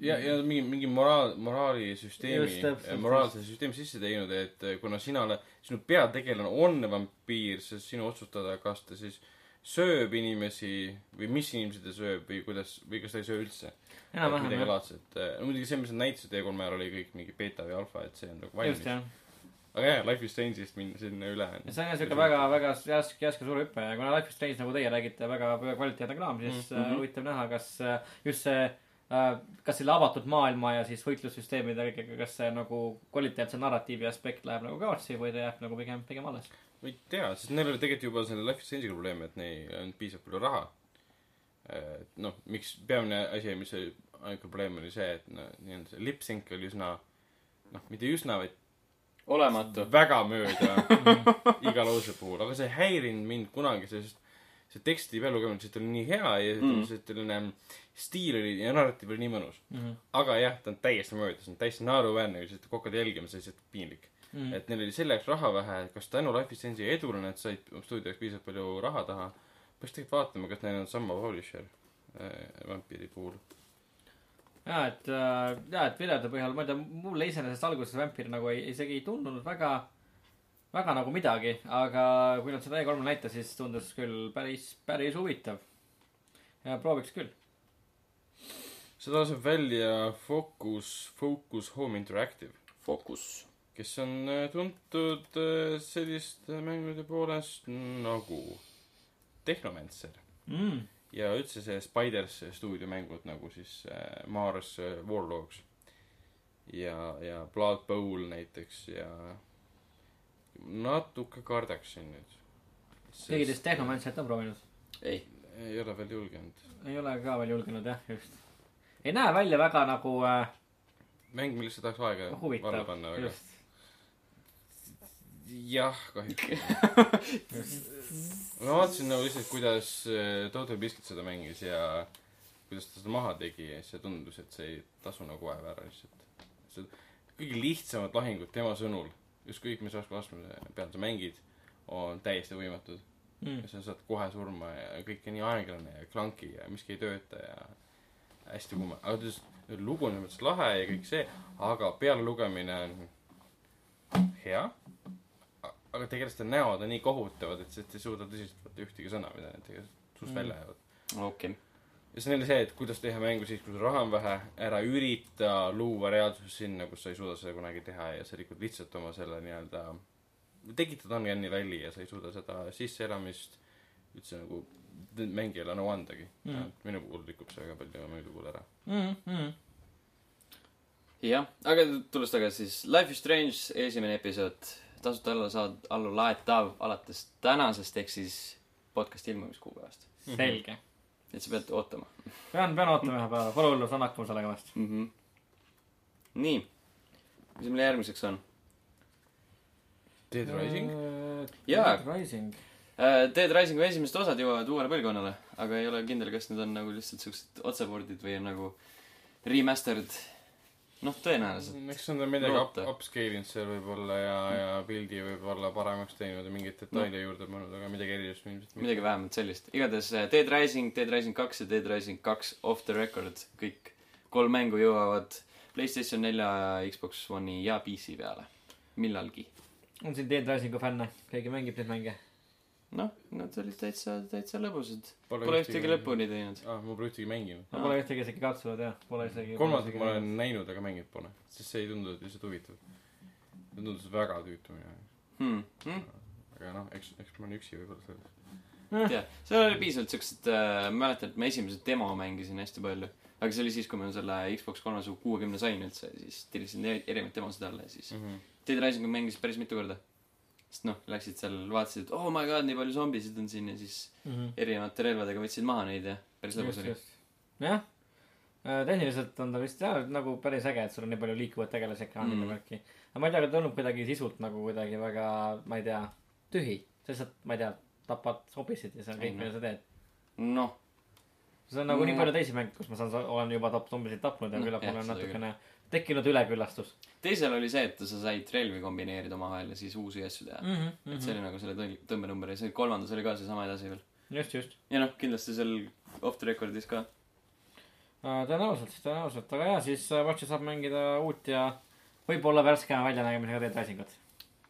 ja , ja mingi , mingi moraal ,
Mm. Just täpselt,
moraalisüsteemi , moraalse süsteemi sisse teinud , et äh, kuna sina oled , sinu peategelane on vampiir , siis sinu otsustada , kas ta siis sööb inimesi või mis inimesi ta sööb või kuidas , või kas ta ei söö üldse .
enam-vähem
midagi
jah ,
laadset . muidugi see , mis nad näitasid E3-e ajal , oli kõik mingi beeta või alfa , et see on nagu valmis
just . jah .
aga jah , Life is Strange'ist minna sinna üle .
ja see on jah siuke väga , väga järsk , järsk ja suur hüpe ja kuna Life is Strange , nagu teie räägite , väga väga kvaliteetne kraam , siis mm
Mhm.
-hmm. huvitav näha , kas äh, just see äh, kas selle avatud maailma ja siis võitlussüsteemidega , kas see nagu kvaliteetse narratiivi aspekt läheb nagu kaotsi või ta jääb nagu pigem , pigem alles ?
ma ei tea , sest neil oli tegelikult juba selle Life is Strange'iga probleem , et neil ei olnud piisavalt palju raha . et noh , miks peamine asi , mis oli ainuke probleem oli see , et noh , nii-öelda see lip-sync oli üsna noh , mitte üsna , vaid
olematu .
väga mööda iga lause puhul , aga see ei häirinud mind kunagi , sest see teksti peal lugemine lihtsalt oli nii hea ja
Mm.
mm. see selline stiil oli ja narratiiv oli nii mõnus .
mm . -hmm.
aga jah , ta on täiesti mööda , see on täiesti naeruväärne , kui seda kokkade jälgima , see on lihtsalt piinlik .
Mm.
et neil oli selle jaoks raha vähe , kas tänu Life is Strange'i edule nad said stuudio jaoks piisavalt palju raha taha , peaks tegelikult vaatama , kas neil on sama publisher äh, Vampiiri puhul .
ja et äh, ja et videote põhjal ma ei tea mulle iseenesest alguses Vampir nagu ei isegi ei tundunud väga väga nagu midagi aga kui nad seda E3-l näitas siis tundus küll päris päris huvitav ja prooviks küll
see laseb välja Focus , Focus Home Interactive ,
fookus .
kes on äh, tuntud äh, selliste mängude poolest nagu Tehnomancer
mm.
ja üldse see Spiders stuudiomängud nagu siis äh, Mars äh, Warlocks ja , ja Blood Bowl näiteks ja natuke kardaksin nüüd .
keegi teist Tehnomantsiat on proovinud
ei .
ei ole veel julgenud .
ei ole ka veel julgenud jah just ei näe välja väga nagu äh,
mäng , millesse tahaks aega valla
huvitav
panna , aga
just
jah , kahjuks ma vaatasin nagu lihtsalt , kuidas äh, Total Biscuit seda mängis ja kuidas ta seda maha tegi ja siis see tundus , et see ei tasu nagu vaeva ära lihtsalt . see kõige lihtsamad lahingud tema sõnul , ükskõik mis raskusastme peal sa mängid , on täiesti võimatud .
mm.
ja sa saad kohe surma ja kõik on nii aeglane ja klanki ja miski ei tööta ja hästi kumm , aga ta ütles , et lugu on selles mõttes lahe ja kõik see , aga pealelugemine on hea . aga tegelikult need näod on nii kohutavad , et sa et sa ei suuda tõsiselt võtta ühtegi sõna , mida need tegelikult suust
Mm.
välja jäävad .
okei .
ja siis on jälle see , et kuidas teha mängu siis , kui sul raha on vähe , ära ürita luua reaalsust sinna , kus sa ei suuda seda kunagi teha ja sa rikud lihtsalt oma selle nii-öelda , tekitad on-gen'i välja ja sa ei suuda seda sisseelamist üldse nagu mängijale nõu andagi
Mhm.
mm. . minu puhul rikub see väga palju mängu puhul ära .
Mm -hmm.
jah , aga tulles tagasi siis Life is Strange esimene episood , tasuta alla saad , allu laetav alates tänasest ehk siis podcast'i ilmumiskuupäevast .
selge
et sa pead ootama
pean pean ootama ühe päeva pole hullu saan hakkama sellega vast
mm . -hmm. nii , mis meil järgmiseks on ?
Dead Rising mm. ,
Jaa.
Äh, Rising
Äh, Dead Risingu esimesed osad jõuavad uuele põlvkonnale , aga ei ole kindel , kas need on nagu lihtsalt siuksed otsepordid või on nagu remastered . noh , tõenäoliselt .
eks nad on midagi up ,
Loota.
upscale inud seal võib-olla ja , ja pildi võib-olla paremaks teinud ja mingeid detaile juurde pannud , aga midagi erilist ilmselt mitte .
midagi vähemalt sellist . igatahes äh, Dead Rising , Dead Rising kaks ja Dead Rising kaks off the record , kõik kolm mängu jõuavad Playstation nelja , Xbox One'i ja PC peale . millalgi .
on siin Dead Risingu fänne , keegi mängib neid mänge ?
noh , nad olid täitsa , täitsa lõbusad . Pole ühtegi . lõpuni teinud .
aa , ma Ah, pole ühtegi mänginud .
ma pole ühtegi isegi katsunud jah , pole isegi .
Mm.
kolmandat ma olen . näinud , aga mänginud pole , sest see ei tundunud lihtsalt huvitav . see tundus väga tüütu minu jaoks ,
Hmm. Hmm?
aga noh , eks , eks ma olen üksi võib-olla selles .
jah , seal oli piisavalt siuksed äh, , ma mäletan , et ma esimese demo mängisin hästi palju . aga see oli siis , kui ma selle Xbox kolmesaja kuuekümne sain üldse , siis tellisin eri- erinevaid demosid alla ja siis mm. Dead Risingu mängisin päris mitu korda . sest noh , läksid seal , vaatasid , et oh my god , nii palju zombisid on siin ja siis erinevate relvadega võtsid maha neid ja päris lõbus
just ,
oli .
just . jah , tehniliselt on ta vist jah , nagu päris äge , et sul on nii palju liikuvat tegelasi ekraanil ja
Mm.
värki . aga ma ei tea , kas ta tundub kuidagi sisult nagu kuidagi väga , ma ei tea , tühi . sa lihtsalt , ma ei tea , tapad hobisid ja see on
Ei
kõik ,
noh.
mida sa teed .
noh ,
see on nagu nii
Mm.
palju teisi mänge , kus ma saan , olen juba tap- , zombisid tapnud ja
Noh,
küllap
jah,
mul on
seda
natukene tekkinud üleküllastus
teisel oli see , et sa said relvi kombineerida omavahel ja siis uusi asju teha mm .
mm .
-hmm. et see oli nagu selle tõl- tõmbenumber ja see kolmandas oli ka seesama edasi veel .
just , just .
ja noh , kindlasti seal off the record'is ka .
Äh, tõenäoliselt , tõenäoliselt , aga jaa , siis äh, varsti saab mängida uut ja võib-olla värskema väljanägemisega Dead Risingut .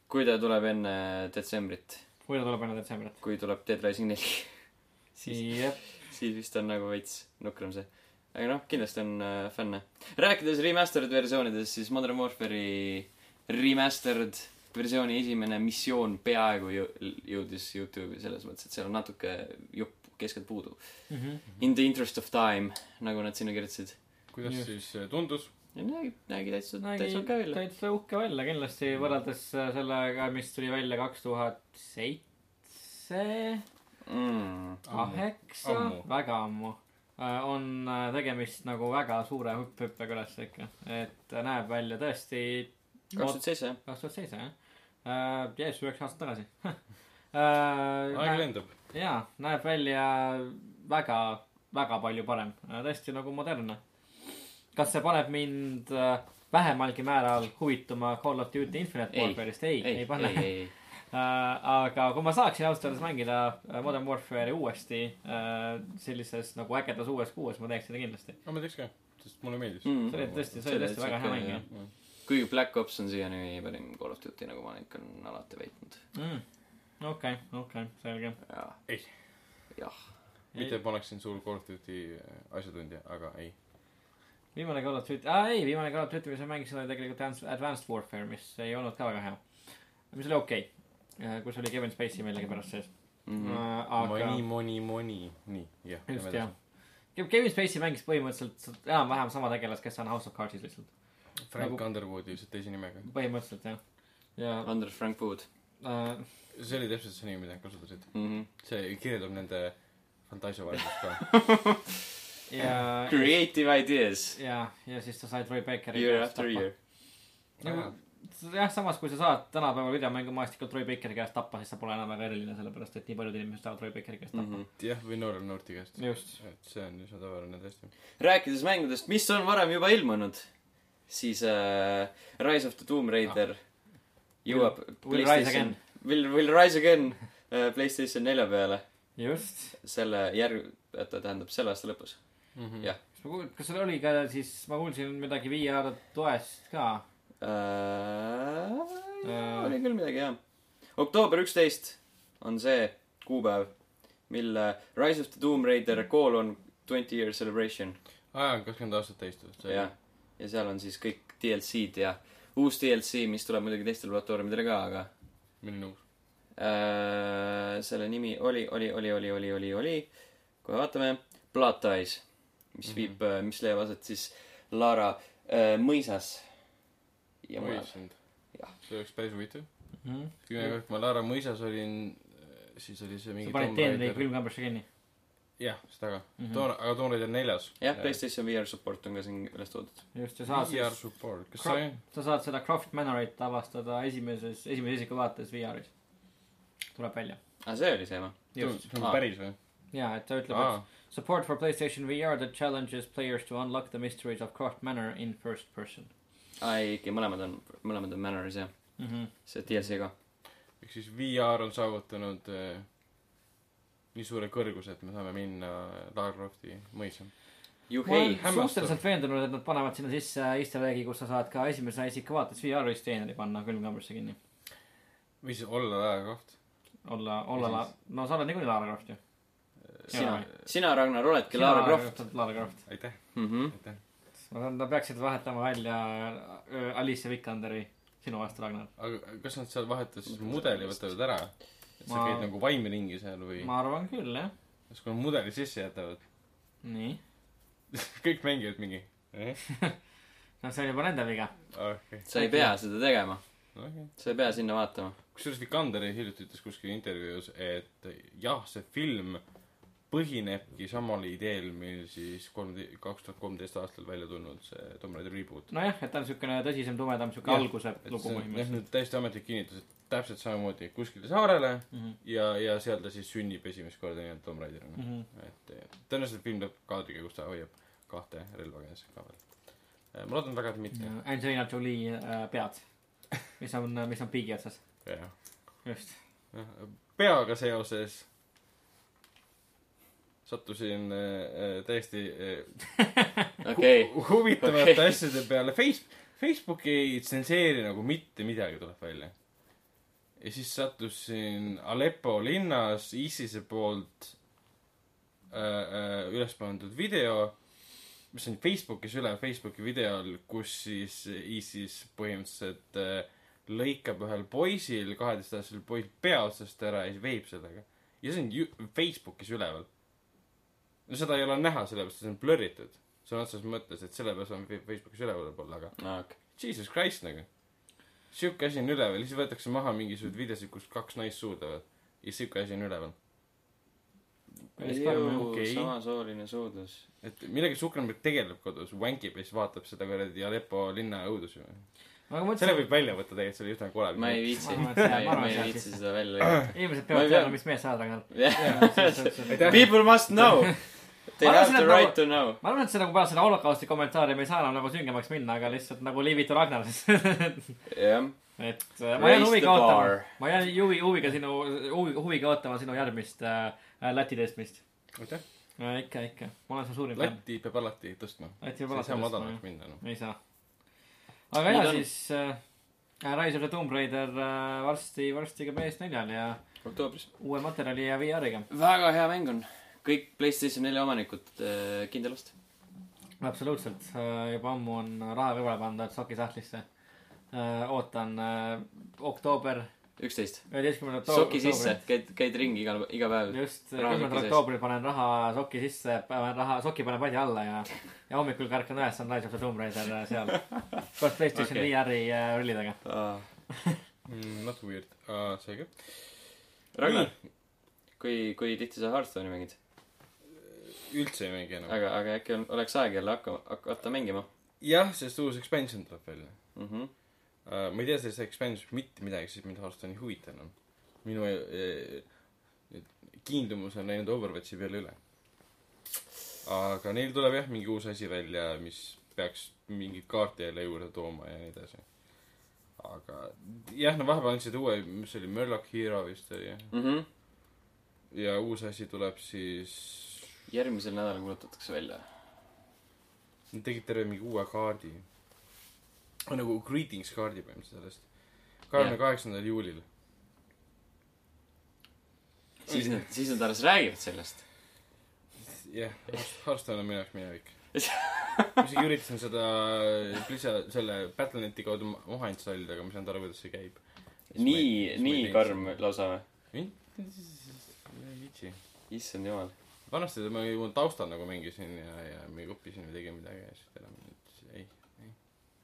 kui ta tuleb enne detsembrit ,
kui ta tuleb enne detsembrit .
kui tuleb Dead Rising neli ,
jah .
siis vist on nagu veits nukram see . aga noh , kindlasti on äh, fänne . rääkides remastered versioonidest , siis Modern Warfare'i remastered versiooni esimene missioon peaaegu jõ- jõudis Youtube'i selles mõttes , et seal on natuke jupp keskelt puudu .
Mhm.
In the interest of time , nagu nad sinna kirjutasid .
kuidas
Just.
Just. siis eh, tundus ?
ja nägi , nägi täitsa , täitsa
nägi
okei välja . Mhm.
täitsa uhke välja kindlasti võrreldes äh, sellega , mis tuli välja kaks tuhat seitse ,
Mm.
Ah, kaheksa
Ammu. ,
väga ammu . on äh, tegemist nagu väga suure hüppe , hüppega üles ikka , et äh, näeb välja tõesti
kaks tuhat seitse , jah .
kaks tuhat seitse jah . jääs üheksa aastat tagasi Äh,
aeg lendab .
jaa , näeb välja väga , väga palju parem , tõesti nagu modernne . kas see paneb mind äh, vähemalgi määral huvituma Call of Duty Infinite
Ei.
Warfare'ist ? ei , ei, ei pane .
ei , ei ,
aga kui ma saaksin ausalt öeldes mängida äh, Modern Warfare'i uuesti äh, sellises nagu ägedas uues kuues , ma teeks seda kindlasti .
aga ma teeks ka , sest mulle meeldis Mhm.
Mm.
see oli tõesti , see
See
oli
oli
tõesti väga hea
siuke-
mäng jah
kuigi Black Ops on siiani parim Call of Duty , nagu ma ikka olen alati väitnud .
Mm. okei , okei , selge .
jaa .
Ei.
jah .
mitte , et ma oleksin suur Call of Duty eh, asjatundja , aga ei .
viimane Call of Duty , aa ei , viimane Call of Duty , mis ma mängisin , oli tegelikult Advanced- Advanced Warfare , mis ei olnud ka väga hea . mis oli okei okay. , kus oli Kevin Spacey millegipärast sees
Mhm.
mm . -hmm. aga
Money , money , money . nii , jah .
just jah . Kevin Spacey mängis põhimõtteliselt enam-vähem sama tegelast , kes on House of Cardsis lihtsalt ,
Frank
Nagu-
nagu... Underwood ilmselt teise nimega .
põhimõtteliselt jah . ja
Andres Frankfurt
äh,
see oli täpselt see nimi , mida nad kasutasid .
mm . -hmm.
see kirjeldab nende fantaasiavaldust ka .
ja ,
Creative ideas .
ja , ja siis sa said Roy Bakeri .
Year after year .
nagu jah , samas kui sa saad tänapäeval videomängumaastikul Roy Bakeri käest tappa , siis sa pole enam väga eriline , sellepärast et nii paljud inimesed tahavad Roy Bakeri käest tappa
Mhm.
mm .
jah , või noorem noorte käest .
-hmm. just .
et see on üsna tavaline tõesti .
rääkides mängudest , mis on varem juba ilmunud , siis äh, Rise of the Tomb Raider jõuab
Ah. Will Rise Again. .
Will , Will Rise Again äh, Playstation nelja peale .
just
selle järg- , oota , tähendab selle aasta lõpus . Jah.
kas ma kuul- , kas seal oli ka siis , ma kuulsin midagi VR toest ka .
äh, .
Äh.
oli küll midagi jah . oktoober üksteist on see kuupäev , mil äh, Rise of the Tomb Raider colon twenty year celebration
aa jaa , kakskümmend aastat täistunud .
ja , ja seal on siis kõik DLC-d ja uus DLC , mis tuleb muidugi teistele platvormidele ka , aga
milline uus .
äh, selle nimi oli , oli , oli , oli , oli , oli , oli , kohe vaatame , Blood Ties , mis viib mm , -hmm. mis leiab aset siis Lara äh, mõisas ja mujal .
issand .
Jah.
see oleks päris huvitav . Mhm.
sa
viimane kord ma Laara mõisas olin , siis oli see mingi
panid
Tomb
teenri
Raider .
külmkambrisse kinni . Mhm.
jah , seda ka mm . -hmm. Toon , aga Tomb Raider neljas .
jah , PlayStation VR support on ka siin üles toodud .
just , ja saad
VR
siis ,
support , kas
Kro-
see ,
sa saad seda Croft Manorit avastada esimeses , esimese isiku vaates VR-is . tuleb välja .
aa , Ah, see oli see või ?
just ,
see on
Aa.
päris või ?
jaa , et ta ütleb ,
aa
et , support for Playstation VR that challenges players to unlock the mysteries of Craft Manor in first person
aa , Ah, ei , ikka mõlemad on , mõlemad on Manoris jah .
mm . -hmm.
see DLC ka .
ehk siis VR on saavutanud eh, nii suure kõrguse , et me saame minna Lagerlofti mõisa .
ma
juhei
olen ,
hämmastav.
suhteliselt veendunud , et nad panevad sinna sisse easter egg'i , kus sa saad ka esimese isiku vaates VR-ist teeneri panna külmkambrisse kinni .
võis olla Lagerloft .
olla , olla la- , no sa oled niikuinii Lara Croft ju .
sina , sina , Ragnar , oledki Lara Croft . Mhm.
Lara Croft .
Eh, aitäh ,
mhmh .
aitäh .
ma saan , nad peaksid vahetama välja öö, Alice Vikanderi sinu vastu , Ragnar .
aga kas nad seal vahetavad siis mudeli , võtavad ära ? et sa
Ma-
käid nagu vaimringi seal või ?
ma arvan küll , jah .
kas kui nad mudeli sisse jätavad ,
nii .
kõik mängivad mingi eh? ?
no see on juba nende viga .
okei ,
sa ei pea seda tegema ,
okei .
sa ei pea sinna vaatama .
kusjuures Vikanderi hiljuti ütles kuskil intervjuus , et jah , see film põhinebki samal ideel , mil siis kolm , kaks tuhat kolmteist aastal välja tulnud see Tomb Raider reboot .
nojah , et ta on siukene tõsisem , tumedam , siuke
Jah,
alguse
et
lugu
see on jah ,
põhimõtteliselt .
nüüd täiesti ametlik kinnitus , et täpselt samamoodi kuskile saarele mm
Mhm.
-hmm. ja , ja seal ta siis sünnib esimest korda nii-öelda Tomb Raiderina mm .
Mhm.
-hmm. et eh, tõenäoliselt film tuleb kaadriga , kus ta hoiab kahte relva käes ka veel . ma loodan väga , et mitte .
Angelina Jolie äh, pead , mis on , mis on piigi otsas .
jah ,
just .
peaga seoses sattusin äh, äh, täiesti äh,
okei ,
hu- huvitavate
Okei.
okay. asjade peale Face- , Facebook ei tsenseeri nagu mitte midagi , tuleb välja . ja siis sattusin Aleppo linnas ISISe poolt äh, äh, üles pandud video , mis on Facebookis üle Facebooki videol , kus siis ISIS põhimõtteliselt äh, lõikab ühel poisil , kaheteistaastasel poisil pea otsast ära ja siis veeb sellega . ja see on ju- Facebookis üleval . no seda ei ole näha , sellepärast et see on blurritud sõna otseses mõttes , et sellepärast on Fe- Facebookis üleval , aga jesus christ nagu . sihuke asi on üleval , siis võetakse maha mingisuguseid videosid , kus kaks naist suudlevad ja sihuke asi on üleval .
Päris karm, jah.
okei .
Okei.
samasooline suudlus .
et millega Zuckerberg tegeleb kodus , vankib ja siis vaatab seda kuradi Aleppo linna õudusi .
ma ka
selle
mõtlesin ,
võib välja võtta tegelikult , see oli üsna kole .
ma ei viitsi ,
Ma
ma
arvan, et see- ma arvan, et
ei
see-
viitsi seda välja lülitada .
inimesed
Ma ei
peavad
tea.
teadma , mis mees sa oled , Ragnar .
Aitäh.
People must know . They
Ma arvan,
have
see
the
on nagu-
right to know .
ma arvan , et see nagu pärast seda holokausti kommentaari me ei saa enam nagu süngemaks minna , aga lihtsalt nagu liivitu Ragnar siis .
jah .
et äh, ma
Raise
jään
the
huviga ootama
bar. ,
ma jään huvi , huviga sinu , huvi , huviga ootama sinu järgmist äh, äh, Läti teistmist
aitäh ,
äh, . ikka , ikka , ma olen su suurim fänn .
Läti peab alati tõstma .
Läti
see ei
peab alati
saa
tõstma,
madalamaks
jah.
minna noh. enam .
ei saa . aga
Nüüd
jaa ,
on-
siis äh, Rise of the Tomb Raider äh, varsti , varsti ka PS4-l ja
oktoobris .
uue materjali ja VR-iga .
väga hea mäng on . kõik Playstation neli omanikud äh, kindel ost .
absoluutselt , Äh, juba ammu on raha kõrvale pandud sokisahtlisse . ootan äh, oktoober ,
üksteist .
üheteistkümnendal oktoo-
soki
oktoobril.
sisse , käid , käid ringi iga , iga päev .
just ,
Raha soki
kümnendal
sees.
oktoobril panen raha soki sisse , panen raha , soki panen padja alla ja , ja hommikul kärkan üles , on Rise of the Tomb Raider äh, seal koos Playstation
Okei.
okay. VR-i äh, rullidega .
Not weird . seega .
Ragnar , kui , kui tihti sa Hearthstone'i mängid ?
üldse ei mängi enam .
aga , aga äkki on, oleks aeg jälle hakka- , hakata mängima
jah , sest uus expansion tuleb välja
mm ? -hmm.
Äh, ma ei tea sellest expansion'ist mitte midagi , sest mind Hearthstone ei huvita enam . minu äh, nüüd kiindumus on läinud Overwatchi peale üle . aga neil tuleb jah , mingi uus asi välja , mis peaks mingeid kaarte jälle juurde tooma ja nii edasi . aga jah , no vahepeal andsid uue , mis see oli , Murloc Hero vist oli jah .
Mm -hmm.
ja uus asi tuleb siis ,
järgmisel nädalal kuulutatakse välja .
nad tegid terve mingi uue kaardi . nagu greetings kaardi põhimõtteliselt sellest . kahekümne kaheksandal juulil .
siis nad , siis nad alles räägivad sellest .
jah , Hearthstone on minu jaoks minevik . ma isegi üritasin seda äh, Blizzard , selle Battle.net'i kaudu ma- maha installida , aga ma ei saanud aru , kuidas see käib .
nii , nii karm . lausa või ?
vitsi .
issand jumal .
vanasti ma ju taustal nagu mängisin ja , ja me õppisime ja tegime midagi ja siis enam nüüd ei .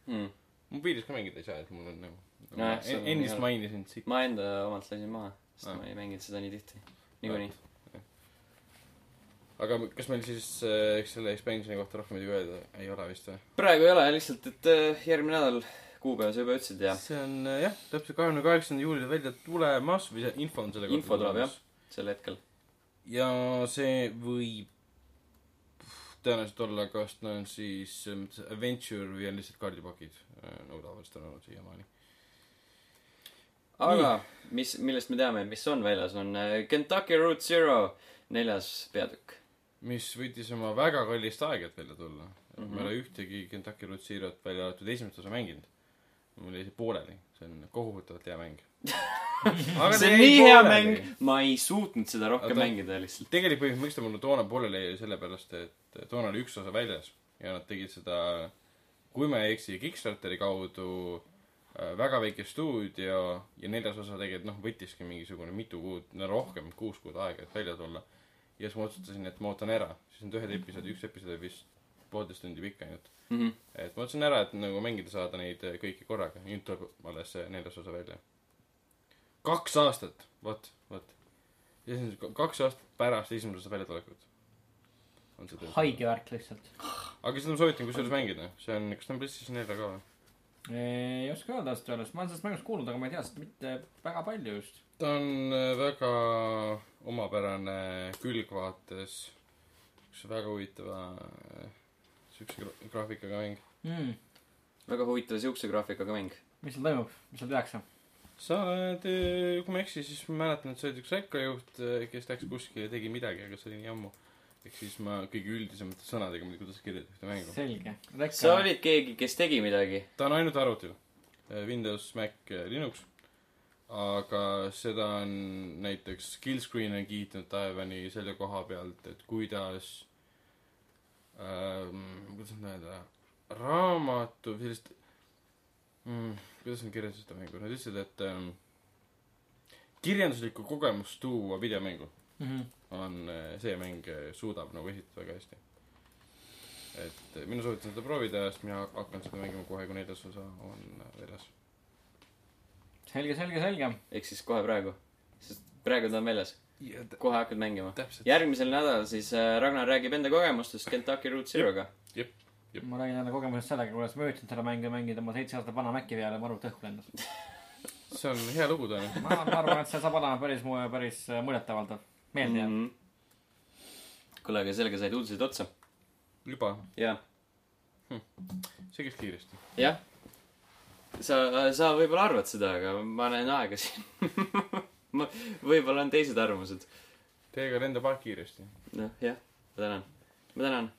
Hmm.
mobiilis ka mängida ei saa , et mul on nagu no, .
Nojah,
ma
see on
en- ennist
hea.
mainisin , et siit .
ma enda omalt lasin maha , sest
Aa.
ma ei mänginud seda nii tihti . niikuinii .
aga kas meil siis äh, selle expansion'i kohta rohkem midagi öelda ei ole vist või ?
praegu ei ole , lihtsalt , et äh, järgmine nädal kuupäeva sa juba ütlesid ja
see on äh, jah , täpselt kahekümne kaheksandal juulil välja tulemas või see info on selle kohta
info tuleb jah , sel hetkel .
ja see võib tõenäoliselt olla , kas ta on siis äh, mis- Adventure või on lihtsalt kaardipakid , nagu tavaliselt on olnud siiamaani .
aga mis , millest me teame , mis on väljas , on äh, Kentucky Route Zero neljas peatükk .
mis võttis oma väga kallist aega , et välja tulla mm .
Mhm.
-hmm. ma ei ole ühtegi Kentucky Route Zero't välja arvatud esimest osa mänginud . mul jäi see pooleli , see on kohutavalt hea mäng .
see on nii hea mäng , ma ei suutnud seda rohkem
Oota.
mängida lihtsalt .
tegelik põhjus , miks ta mulle toona pooleli jäi , oli sellepärast , et toona oli üks osa väljas ja nad tegid seda , kui ma ei eksi , Kickstarteri kaudu äh, väga väike stuudio ja neljas osa tegelikult noh , võttiski mingisugune mitu kuud , no rohkem , kuus kuud aega , et välja tulla . ja siis ma otsustasin , et ma ootan ära , siis need ühed episoodid , üks episood oli vist poolteist tundi pikk ainult .
Mhm.
et ma mõtlesin ära , et nagu mängida saada neid kõiki korraga , nüüd tuleb alles see neljas osa välja . kaks aastat , vot , vot . kaks aastat pärast esimese osa väljatulekut . on see
haige . värk lihtsalt .
aga seda ma soovitan kusjuures mängida , see on , kas ta on PlayStation 4 ka või ?
ei oska öelda ausalt öeldes , ma olen sellest mängust kuulnud , aga ma ei tea seda mitte väga palju just .
ta on äh, väga omapärane külgvaates , üks väga huvitava äh, siukse gra- graafikaga mäng .
mm. .
väga huvitav siukse graafikaga mäng . mis
mis seal toimub , mis seal tehakse ?
sa oled , kui ma ei eksi , siis ma mäletan , et sa olid üks rekkajuht , kes läks kuskile ja tegi midagi , aga see oli nii ammu . ehk siis ma kõige üldisemate sõnadega muidugi , kuidas kirjeldada ühte mängu .
selge .
sa . olid keegi , kes tegi midagi .
ta on ainult arvutil . Windows , Mac , Linux . aga seda on näiteks Skillscreen on kiitnud Taiwan'i selle koha pealt , et kuidas ähm, , kuidas nüüd öelda , raamatu , sellist mm, , kuidas nad kirjeldasid seda mängu , nad ütlesid , et ähm, kirjanduslikku kogemust tuua videomängu
Mhm.
on äh, see mäng äh, suudab nagu esitada väga hästi . et äh, mina soovitan seda proovida , sest mina hakkan seda mängima kohe , kui neljas osa on äh, väljas .
selge , selge , selge .
ehk siis kohe praegu . sest praegu ta on väljas . kohe hakkad mängima .
täpselt .
järgmisel nädalal siis äh, Ragnar räägib enda kogemustest Kentucky Route Zeroga .
Jep.
ma räägin enda kogemusest sellega , kuidas ma üritasin seda mängu mängida oma seitse aastat vana Maci peale ja ma arvan , et õhku lendas .
see on hea lugu tõenäoliselt .
ma ma arvan , et see saab olema päris , päris äh, muljetavaldav , meeldejääv mm .
kuule , Mhm. aga sellega said uudised otsa .
juba ,
ja ,
see käis kiiresti .
jah . sa , sa võib-olla arvad seda , aga ma näen aega siin . ma , võib-olla on teised arvamused .
Teiega lendab aeg kiiresti .
noh , jah , ma tänan . ma tänan .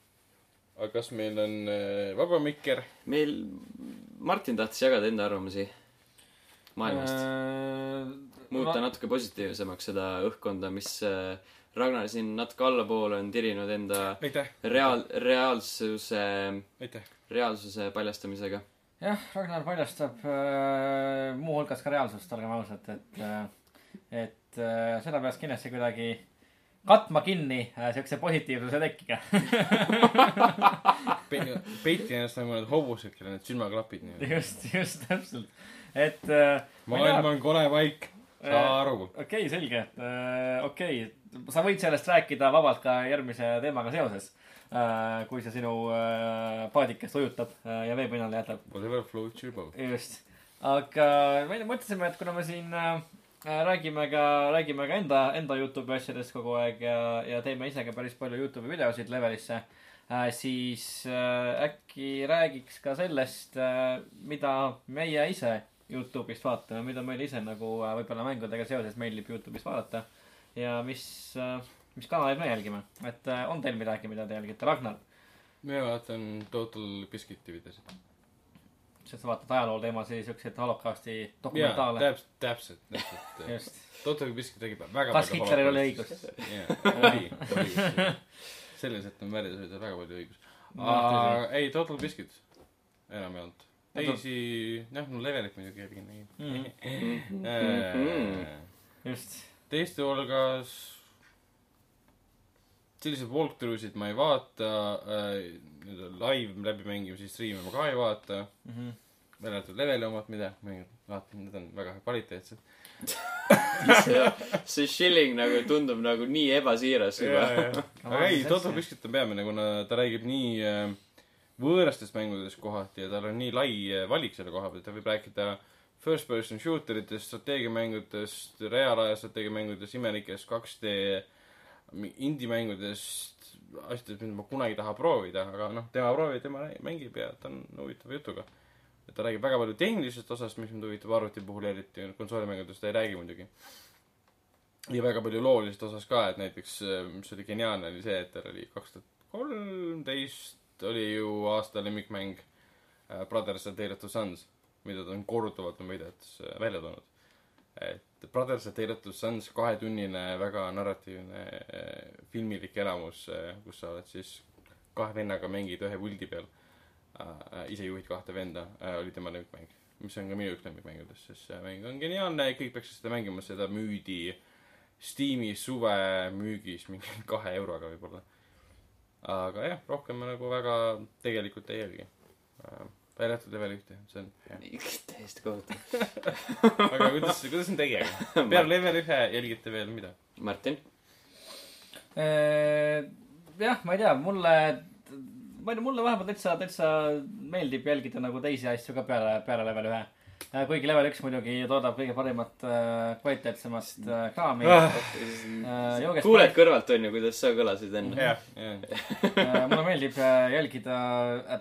aga kas meil on äh, vaba mikker ?
meil , Martin tahtis jagada enda arvamusi maailmast .
Äh,
muuta natuke positiivsemaks seda õhkkonda , mis äh, Ragnar siin natuke allapoole on tirinud enda
aitäh .
reaal , reaalsuse ,
aitäh .
reaalsuse paljastamisega .
jah , Ragnar paljastab äh, muuhulgas ka reaalsust , olgem ausad , et äh, , et äh, seda peaks kindlasti kuidagi katma kinni äh, siukse positiivsuse tekkiga .
peiti ennast nagu need hobused , kellel need silmaklapid nii-öelda .
just , just täpselt , et äh, ma ei
maailm on kole vaik , saa
Äh,
aru .
tea- okei , selge , okei , sa võid sellest rääkida vabalt ka järgmise teemaga seoses äh, , kui see sinu äh, paadikest ujutab äh, ja veepinnale jätab .
Whatever floats your boat .
just , aga me mõtlesime , et kuna me siin äh, räägime ka , räägime ka enda , enda Youtube'i asjadest kogu aeg ja , ja teeme ise ka päris palju Youtube'i videosid levelisse äh, , siis äh, äkki räägiks ka sellest äh, , mida meie ise Youtube'ist vaatame , mida meil ise nagu äh, võib-olla mängudega seoses meeldib Youtube'is vaadata ja mis äh, , mis kanaleid me jälgime , et äh, on teil midagi , mida te jälgite , Ragnar ,
mina vaatan Total Biscuiti videosid .
sest sa vaatad ajaloo teemasid , siukseid holokausti
jaa ,
dokumentaale ,
täpselt , täpselt , täpselt .
just .
Total Biscuit räägib väga
kas
palju
Hitleril oli
holokaustist.
õigus ?
jaa , oli , oli õigus . selles , et on märjades oli tal väga palju õigus .
tõsi.
ei , Total Biscuit enam ei olnud . teisi , noh , no levelit muidugi jälgin
Mhm.
Mhm.
neid .
just ,
Äh, teiste hulgas selliseid walkthrough sid ma ei vaata , nii-öelda live läbimängimisi , striime ma ka ei vaata
Mhm.
välja arvatud leveli omad , mida ma ei- vaatan , need on väga kvaliteetsed .
see, see shilling nagu tundub nagu nii ebasiiras juba .
aga ei , Total Biscuit on peamine , kuna ta räägib nii äh, võõrastes mängudes kohati ja tal on nii lai eh, valik selle koha peal , ta võib rääkida first person shooter itest , strateegiamängudest , reaalaja strateegiamängudest , imelikest 2D mi- indie-mängudest , asjadest , mida ma kunagi ei taha proovida , aga noh , tema proovib , tema rää- mängib ja ta on huvitava jutuga . ta räägib väga palju tehnilisest osast , mis mind huvitab arvuti puhul eriti , konsoolimängudest ta ei räägi muidugi . ja väga palju loolisest osast ka , et näiteks , mis oli geniaalne , oli see , et tal oli kaks tuhat kolmteist oli ju aasta lemmikmäng äh, Brothers and Tale of the Sons , mida ta on korduvalt on videotes äh, välja toonud . et Brothers and Tale of the Sons kahetunnine väga narratiivne äh, filmilik elamus , kus sa oled siis kahe vennaga mängid ühe puldi peal . ise juhid kahte venda , oli tema lemmikmäng , mis on ka minu üks lemmikmängudest , sest see mäng on geniaalne ja kõik peaksid seda mängima , seda müüdi Steam'i suvemüügis mingi kahe euroga võib-olla . aga jah , rohkem ma nagu väga tegelikult ei jälgi . Äh, välja arvatud level ühte , see on hea .
täiesti kohutav .
aga kuidas , kuidas on teiega ? peale level ühe jälgite veel mida ?
Martin ,
Äh, jah , ma ei tea , mulle , ma ei tea , mulle vahepeal täitsa , täitsa meeldib jälgida nagu teisi asju ka peale , peale level ühe . kuigi level üks muidugi toodab kõige parimat äh, kvaliteetsemast äh, kraami äh, .
Ah.
Äh, jooge
kuuled kõrvalt onju , kuidas sa kõlasid enne ?
jah , jah .
Äh, mulle meeldib äh, jälgida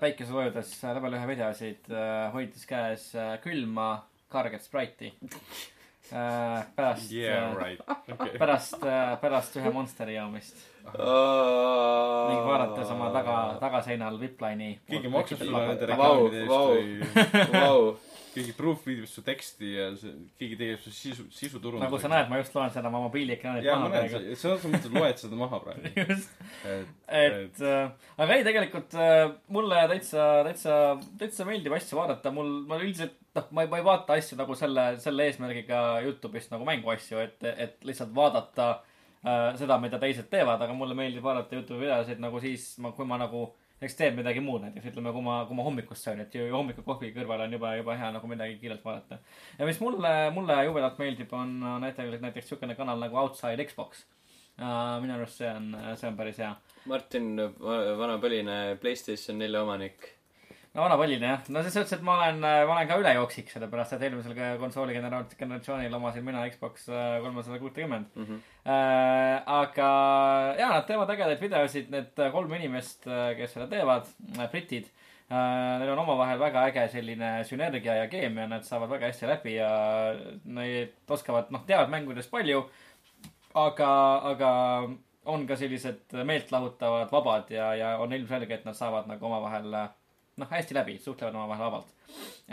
päikesevoojudes äh, level ühe videosid , hoides käes äh, külma karget spraiti . pärast
Yeah
äh,
right . okei .
pärast , pärast ühe Monsteri joomist ning vaadates oma taga , tagaseinal Viplaini .
keegi maksab sulle nende
Vau,
reklaamide
vau.
eest või
Vau ,
keegi proofreadib su teksti ja see , keegi teeb su sisu , sisuturundust .
nagu sa näed , ma just loen seda oma mobiiliekraanilt
jaa , ma
maha
näen
praegu .
seda , selles mõttes , et loed seda maha praegu .
just ,
et
et äh, aga ei , tegelikult äh, mulle täitsa , täitsa , täitsa meeldib asju vaadata , mul , ma üldiselt , noh , ma ei , ma ei vaata asju nagu selle , selle eesmärgiga Youtube'ist nagu mänguasju , et , et lihtsalt vaadata äh, seda , mida teised teevad , aga mulle meeldib vaadata Youtube'i videosid nagu siis , kui ma nagu eks teen midagi muud , näiteks ütleme , kui ma , kui ma hommikust söön , et ju, ju hommikukohvi kõrval on juba , juba hea nagu midagi kiirelt vaadata . ja mis mulle , mulle jubedalt meeldib , on äh, näiteks , näiteks niisugune kanal nagu Outside Xbox uh, . minu arust see on , see on päris hea
Martin , vana põline Playstation nelja omanik .
no vana põline jah , no selles suhtes , et ma olen , ma olen ka ülejooksik , sellepärast et eelmisel ka- konsooli genera- generatsioonil omasin mina Xbox äh, kolmesada kuutekümmend . aga jaa , nad teevad ägedaid videosid , need äh, kolm inimest , kes seda teevad , britid . Neil on omavahel väga äge selline sünergia ja keemia , nad saavad väga hästi läbi ja need oskavad , noh , teavad mängudest palju , aga , aga on ka sellised meelt lahutavad vabad ja , ja on ilmselge , et nad saavad nagu omavahel äh, noh , hästi läbi , suhtlevad omavahel vabalt .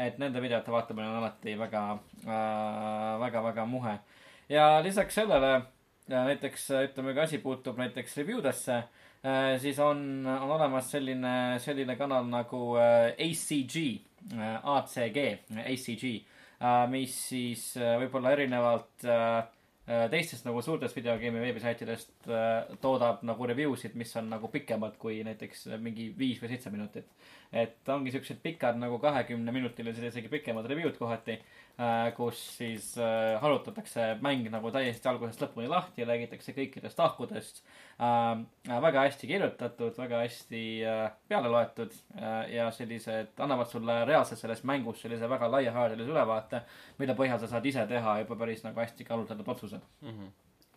et nende videote vaatamine on alati väga äh, , väga-väga muhe . ja lisaks sellele ja näiteks äh, ütleme , kui asi puutub näiteks review desse äh, , siis on , on olemas selline , selline kanal nagu äh, ACG äh, , ACG , ACG , mis siis äh, võib-olla erinevalt äh, äh, teistest nagu suurtest videogeimi veebisaitidest äh, toodab nagu review sid , mis on nagu pikemad kui näiteks mingi viis või seitse minutit . et ongi siuksed pikad nagu kahekümneminutilised ja isegi pikemad review'd kohati , kus siis äh, harutatakse mäng nagu täiesti algusest lõpuni lahti ja räägitakse kõikidest tahkudest . väga hästi kirjutatud , väga hästi äh, peale loetud äh, ja sellised annavad sulle reaalselt selles mängus sellise väga laiahaardelise ülevaate , mille põhjal sa saad ise teha juba päris nagu hästi kaalutletud otsused .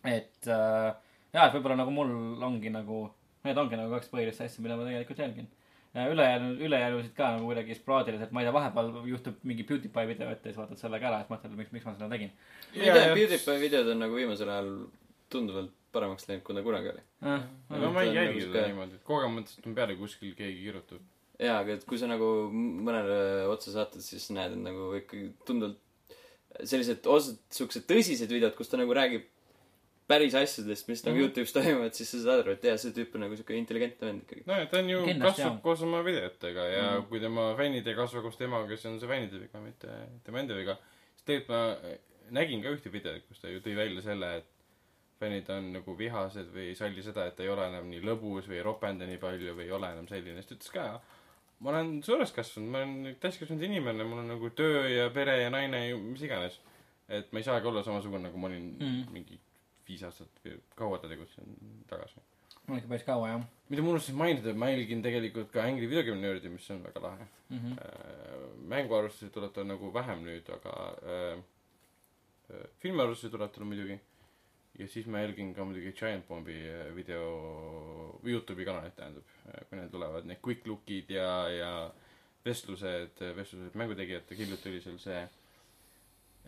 et äh, jaa , et võib-olla nagu mul ongi nagu , need ongi nagu kaks põhilist asja , mida ma tegelikult jälgin . ülejäänud , ülejäänusid ka nagu kuidagi sporaadiliselt , ma ei tea , vahepeal juhtub mingi PewDiePie video ette ja siis vaatad selle ka ära , et mõtled , miks , miks ma seda tegin
ma ei tea , PewDiePie videod on nagu viimasel ajal tunduvalt paremaks läinud , kui ta kunagi oli .
äh, .
no ma
Ta
ei
on
jälgi
nagu
seda
sihuke-
niimoodi , et kogemata on peale kuskil keegi kirjutab .
jaa , aga et kui sa nagu mõnele otsa saatad , siis näed , et nagu ikkagi tunduvalt sellised osad , siuksed tõsised videod , kus ta nagu räägib päris asjadest , mis
Mhm.
nagu Youtube'is toimuvad , siis sa saad aru , et jaa , see tüüp on nagu siuke intelligentne vend ikkagi .
nojah , ta on ju ,
Kindlasti
kasvab
on.
koos oma videotega ja mm. kui tema fännid ei kasva koos temaga , siis on see fännide viga , mitte tema enda viga . siis tegelikult ma eh, nägin ka ühte videot , kus ta ju tõi välja selle , et fännid on nagu vihased või ei salli seda , et ta ei ole enam nii lõbus või ei ropenda nii palju või ei ole enam selline , siis ta ütles ka , ma olen suureks kasvanud , ma olen täiskasvanud inimene , mul on nagu töö ja pere ja naine ja mis iganes . et ma ei saagi olla samasugune , nagu ma olin
Mm.
mm. mingi viis aastat või kaua ta tegutses tagasi .
on ikka päris kaua jah
mida ma unustasin mainida , ma jälgin tegelikult ka Angry Video Game Nerdi , mis on väga lahe
mm . -hmm.
äh, . mänguarvustusi tuleb tal nagu vähem nüüd , aga äh, äh, filmiarvustusi tuleb tal muidugi . ja siis ma jälgin ka muidugi Giant Bombi äh, video , Youtube'i kanalit tähendab , kui neil tulevad need quick look'id ja , ja vestlused , vestlused mängutegijatega , hiljuti oli seal see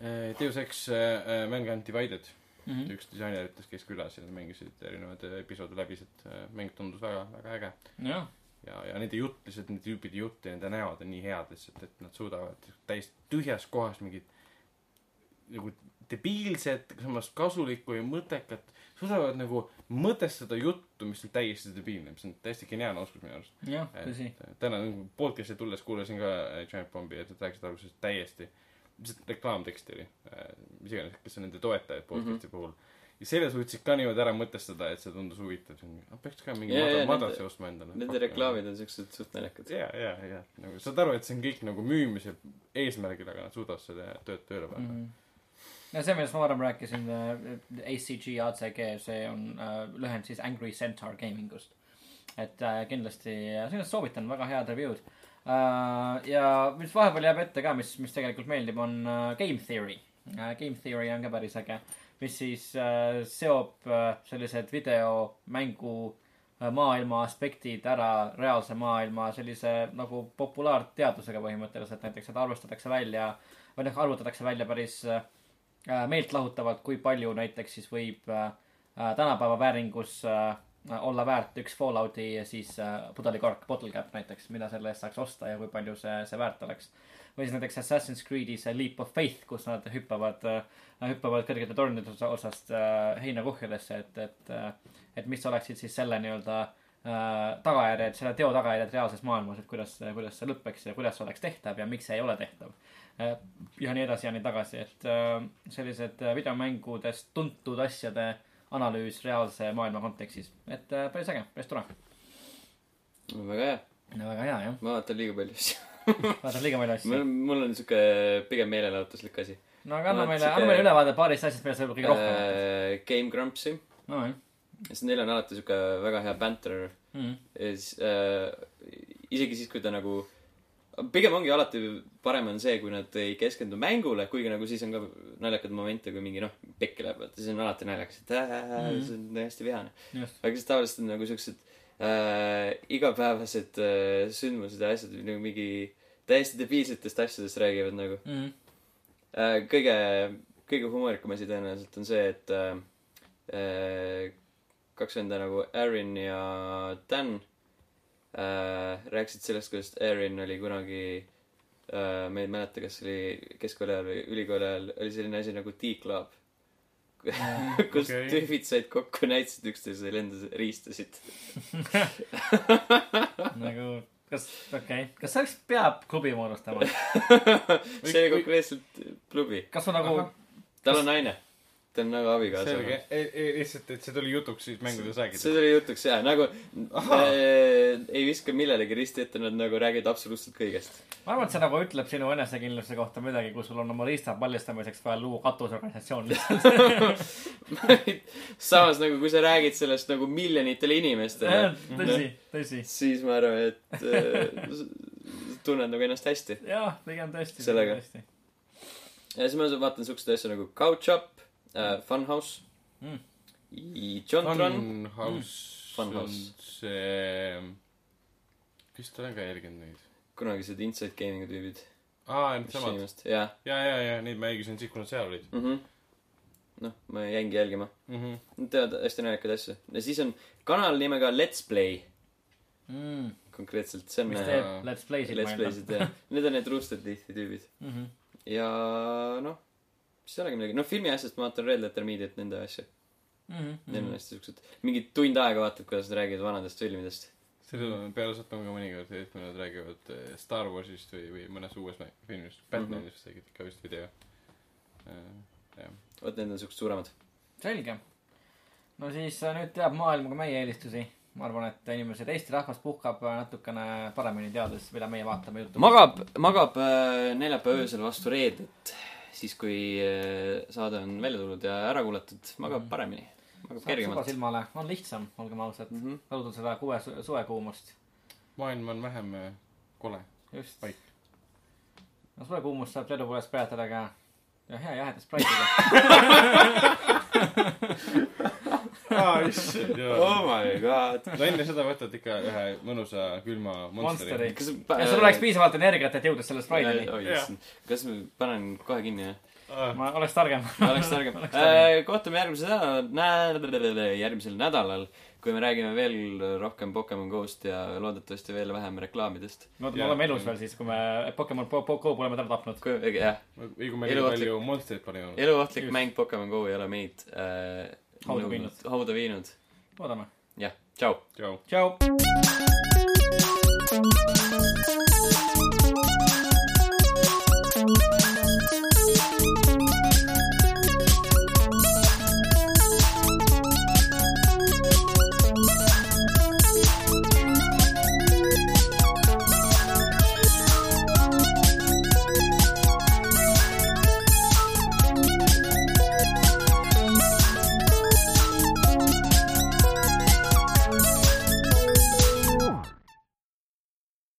äh, Deus Ex äh, äh, mäng Undivided
Mm
-hmm. üks disaineritest käis külas ja nad mängisid erinevaid episoode läbi , see äh, mäng tundus väga , väga äge .
-hmm. jah ,
ja , ja nende jutt lihtsalt , nende tüüpide jutt ja nende näod on nii head lihtsalt , et nad suudavad täiesti tühjas kohas mingit nagu debiilset , samas kasulikku ja mõttekat , suudavad nagu mõtestada juttu , mis on täiesti debiilne , mis on täiesti geniaalne oskus minu arust .
jah , tõsi .
täna nagu podcast'i tulles kuulasin ka äh, Giant Bombi ja nad rääkisid alguses täiesti , lihtsalt reklaamtekst oli , mis iganes , kes on nende toetajad podcast'i
Mhm.
mm -hmm. puhul . ja selle suutsid ka niimoodi ära mõtestada , et see tundus huvitav , peaks ka mingi
Jaa,
yeah,
jaa,
madalase
nende-
ostma endale .
Nende reklaamid on siuksed suht naljakad .
ja , ja , ja nagu saad aru , et see on kõik nagu müümise eesmärgil , aga nad suudavad seda tööd tööle panna
Mhm.
mm .
no see , millest ma varem rääkisin , äh, ACG , ACG , see on äh, lühend siis Angry Centaur Gamingust . et äh, kindlasti , sellest soovitan , väga head review'd äh, . ja mis vahepeal jääb ette ka , mis , mis tegelikult meeldib , on äh, Game Theory äh, . Game Theory on ka päris äge , mis siis äh, seob äh, sellised videomängu äh, maailma aspektid ära reaalse maailma sellise nagu populaarteadusega põhimõtteliselt , näiteks et arvestatakse välja või noh , arvutatakse välja päris äh, äh, meeltlahutavalt , kui palju näiteks siis võib äh, äh, tänapäeva vääringus äh, olla väärt üks Fallouti ja siis äh, pudelikork , bottle cap näiteks , mida selle eest saaks osta ja kui palju see , see väärt oleks . või siis näiteks Assassin's Creed'i see Leap of Faith , kus nad hüppavad äh, , hüppavad kõrgete tornide osa- osast äh, heinakuhjadesse , et , et äh, , et mis oleksid siis selle nii-öelda äh, tagajärjed , selle teo tagajärjed reaalses maailmas , et kuidas , kuidas see lõpeks ja kuidas see oleks tehtav ja miks see ei ole tehtav Äh, ja nii edasi ja nii tagasi , et äh, sellised äh, videomängudest tuntud asjade analüüs reaalse maailma kontekstis , et äh, päris äge , päris tore .
väga hea ,
no väga hea jah ,
ma vaatan liiga palju asju .
vaatan liiga palju asju
mul ., mul on siuke pigem meelelahutuslik asi .
no aga
mul
anna
on
meile ,
sihuke-
anna meile ülevaade paarist asjast , millest sa võib-olla kõige rohkem äh... .
Game Grumpsi ,
no jah
sest neil on alati siuke väga hea banter
mm. .
ja siis äh, isegi siis , kui ta nagu , pigem ongi alati parem on see , kui nad ei keskendu mängule , kuigi nagu siis on ka naljakaid momente , kui mingi noh , pekki läheb , vaata siis on alati naljakas , et äh, mm. see on hästi vihane .
just ,
aga siis tavaliselt on nagu siuksed äh, igapäevased äh, sündmused ja asjad nagu mingi täiesti debiilsetest asjadest räägivad nagu
mm.
äh, . kõige , kõige humoorikam asi tõenäoliselt on see , et äh, äh, kaks venda nagu Aaron ja Dan äh, rääkisid sellest , kuidas Aaron oli kunagi äh, ma ei mäleta , kas oli keskkooli ajal või ülikooli ajal , oli selline asi nagu T-Club . kus okay.
okei.
tüübid said kokku , näitasid üksteisele , lendasid , riistasid .
nagu kas , okei okay. , kas selleks peab klubi moodustama ,
see oli konkreetselt klubi ,
kas on nagu
Ahah.
tal on naine , ta on nagu abikaasa .
selge , e, lihtsalt , et see tuli jutuks siis mängudes
see
räägiti .
tuli jutuks jaa , nagu äh, ei viska millelegi risti ette , nad nagu räägivad absoluutselt kõigest .
ma arvan , et see nagu ütleb sinu enesekindluse kohta midagi , kui sul on oma riista paljastamiseks vaja luua katusorganisatsioon lihtsalt .
samas nagu , kui sa räägid sellest nagu miljonitele inimestele ,
tõsi , tõsi .
siis ma arvan , et äh, s- tunned nagu ennast hästi .
jah , pigem tõesti .
Sellega. . ja siis ma vaatan siukseid asju nagu Couch Up äh, , Funhouse
Mm.
mm. , Jontron ,
Funhouse
Mm.
on
Funhouse.
see , vist olen ka jälginud neid .
kunagised Inside Gaming'u tüübid .
aa , need samad .
jah ,
ja , ja , ja neid ma jälgisin siis , kui nad seal olid
mhm. noh , ma jäingi jälgima .
mm . -hmm.
Nad teevad hästi naljakaid asju . ja siis on kanal nimega Let's Play
mm, .
konkreetselt , see on
mis
äh,
teeb Let's Play'sid
Let's Play'sid jah . Need on need Roosted Teeth'i tüübid .
mm . -hmm.
ja noh , siis ei olegi midagi . noh , filmi asjast ma vaatan Red Letter Mediat , nende asju .
Mm
Neil
-hmm.
on hästi siuksed , mingi tund aega vaatad , kuidas nad räägivad vanadest filmidest .
selle peale satun ka mõnikord , et kui nad räägivad eh, Star Warsist või , või mõnest uuest mäng- filmist , Batmanist tegid ka vist video . jah .
vot need on siuksed suuremad .
selge . no siis äh, nüüd teab maailm ka meie eelistusi . ma arvan , et inimesed , Eesti rahvas puhkab äh, natukene paremini teades , mida meie vaatame juttu .
magab , magab äh, neljapäeva öösel vastu reedet , siis kui äh, saade on välja tulnud ja ära kuulatud , magab paremini . hakkab
Mhm. saab suba
kergemalt .
silmale , on lihtsam , olgem ausad mm
Mhm.
-hmm. . taludel seda kuue , suvekuumust ,
maailm on vähem äh, kole
just .
paik .
no suvekuumust saab ledu poest peatada ka ja hea jaheda spraitiga .
aa , issand
oh
jaa .
my god .
no enne seda võtad ikka ühe mõnusa külma monsteri
Monsteri. .
kas
ja sul oleks piisavalt energiat , et jõuda selle spraidini .
piisavalt . kas ma panen kohe kinni , jah ?
ma oleks targem .
oleks targem . kohtume järgmisel nädalal , järgmisel nädalal , kui me räägime veel rohkem Pokemon Go'st ja loodetavasti veel vähem reklaamidest .
no me
Jaa.
oleme elus veel siis , kui me Pokemon Po- Po- Go pole me täna tapnud .
äh, jah ,
või kui me liiga
Eluohtlik-
palju monstreid panime .
eluohtlik
Just.
mäng Pokemon Go ei ole meid äh,
Hauda
nõudnud-
viinud.
hauda viinud .
loodame .
jah , tšau .
tšau .
tšau .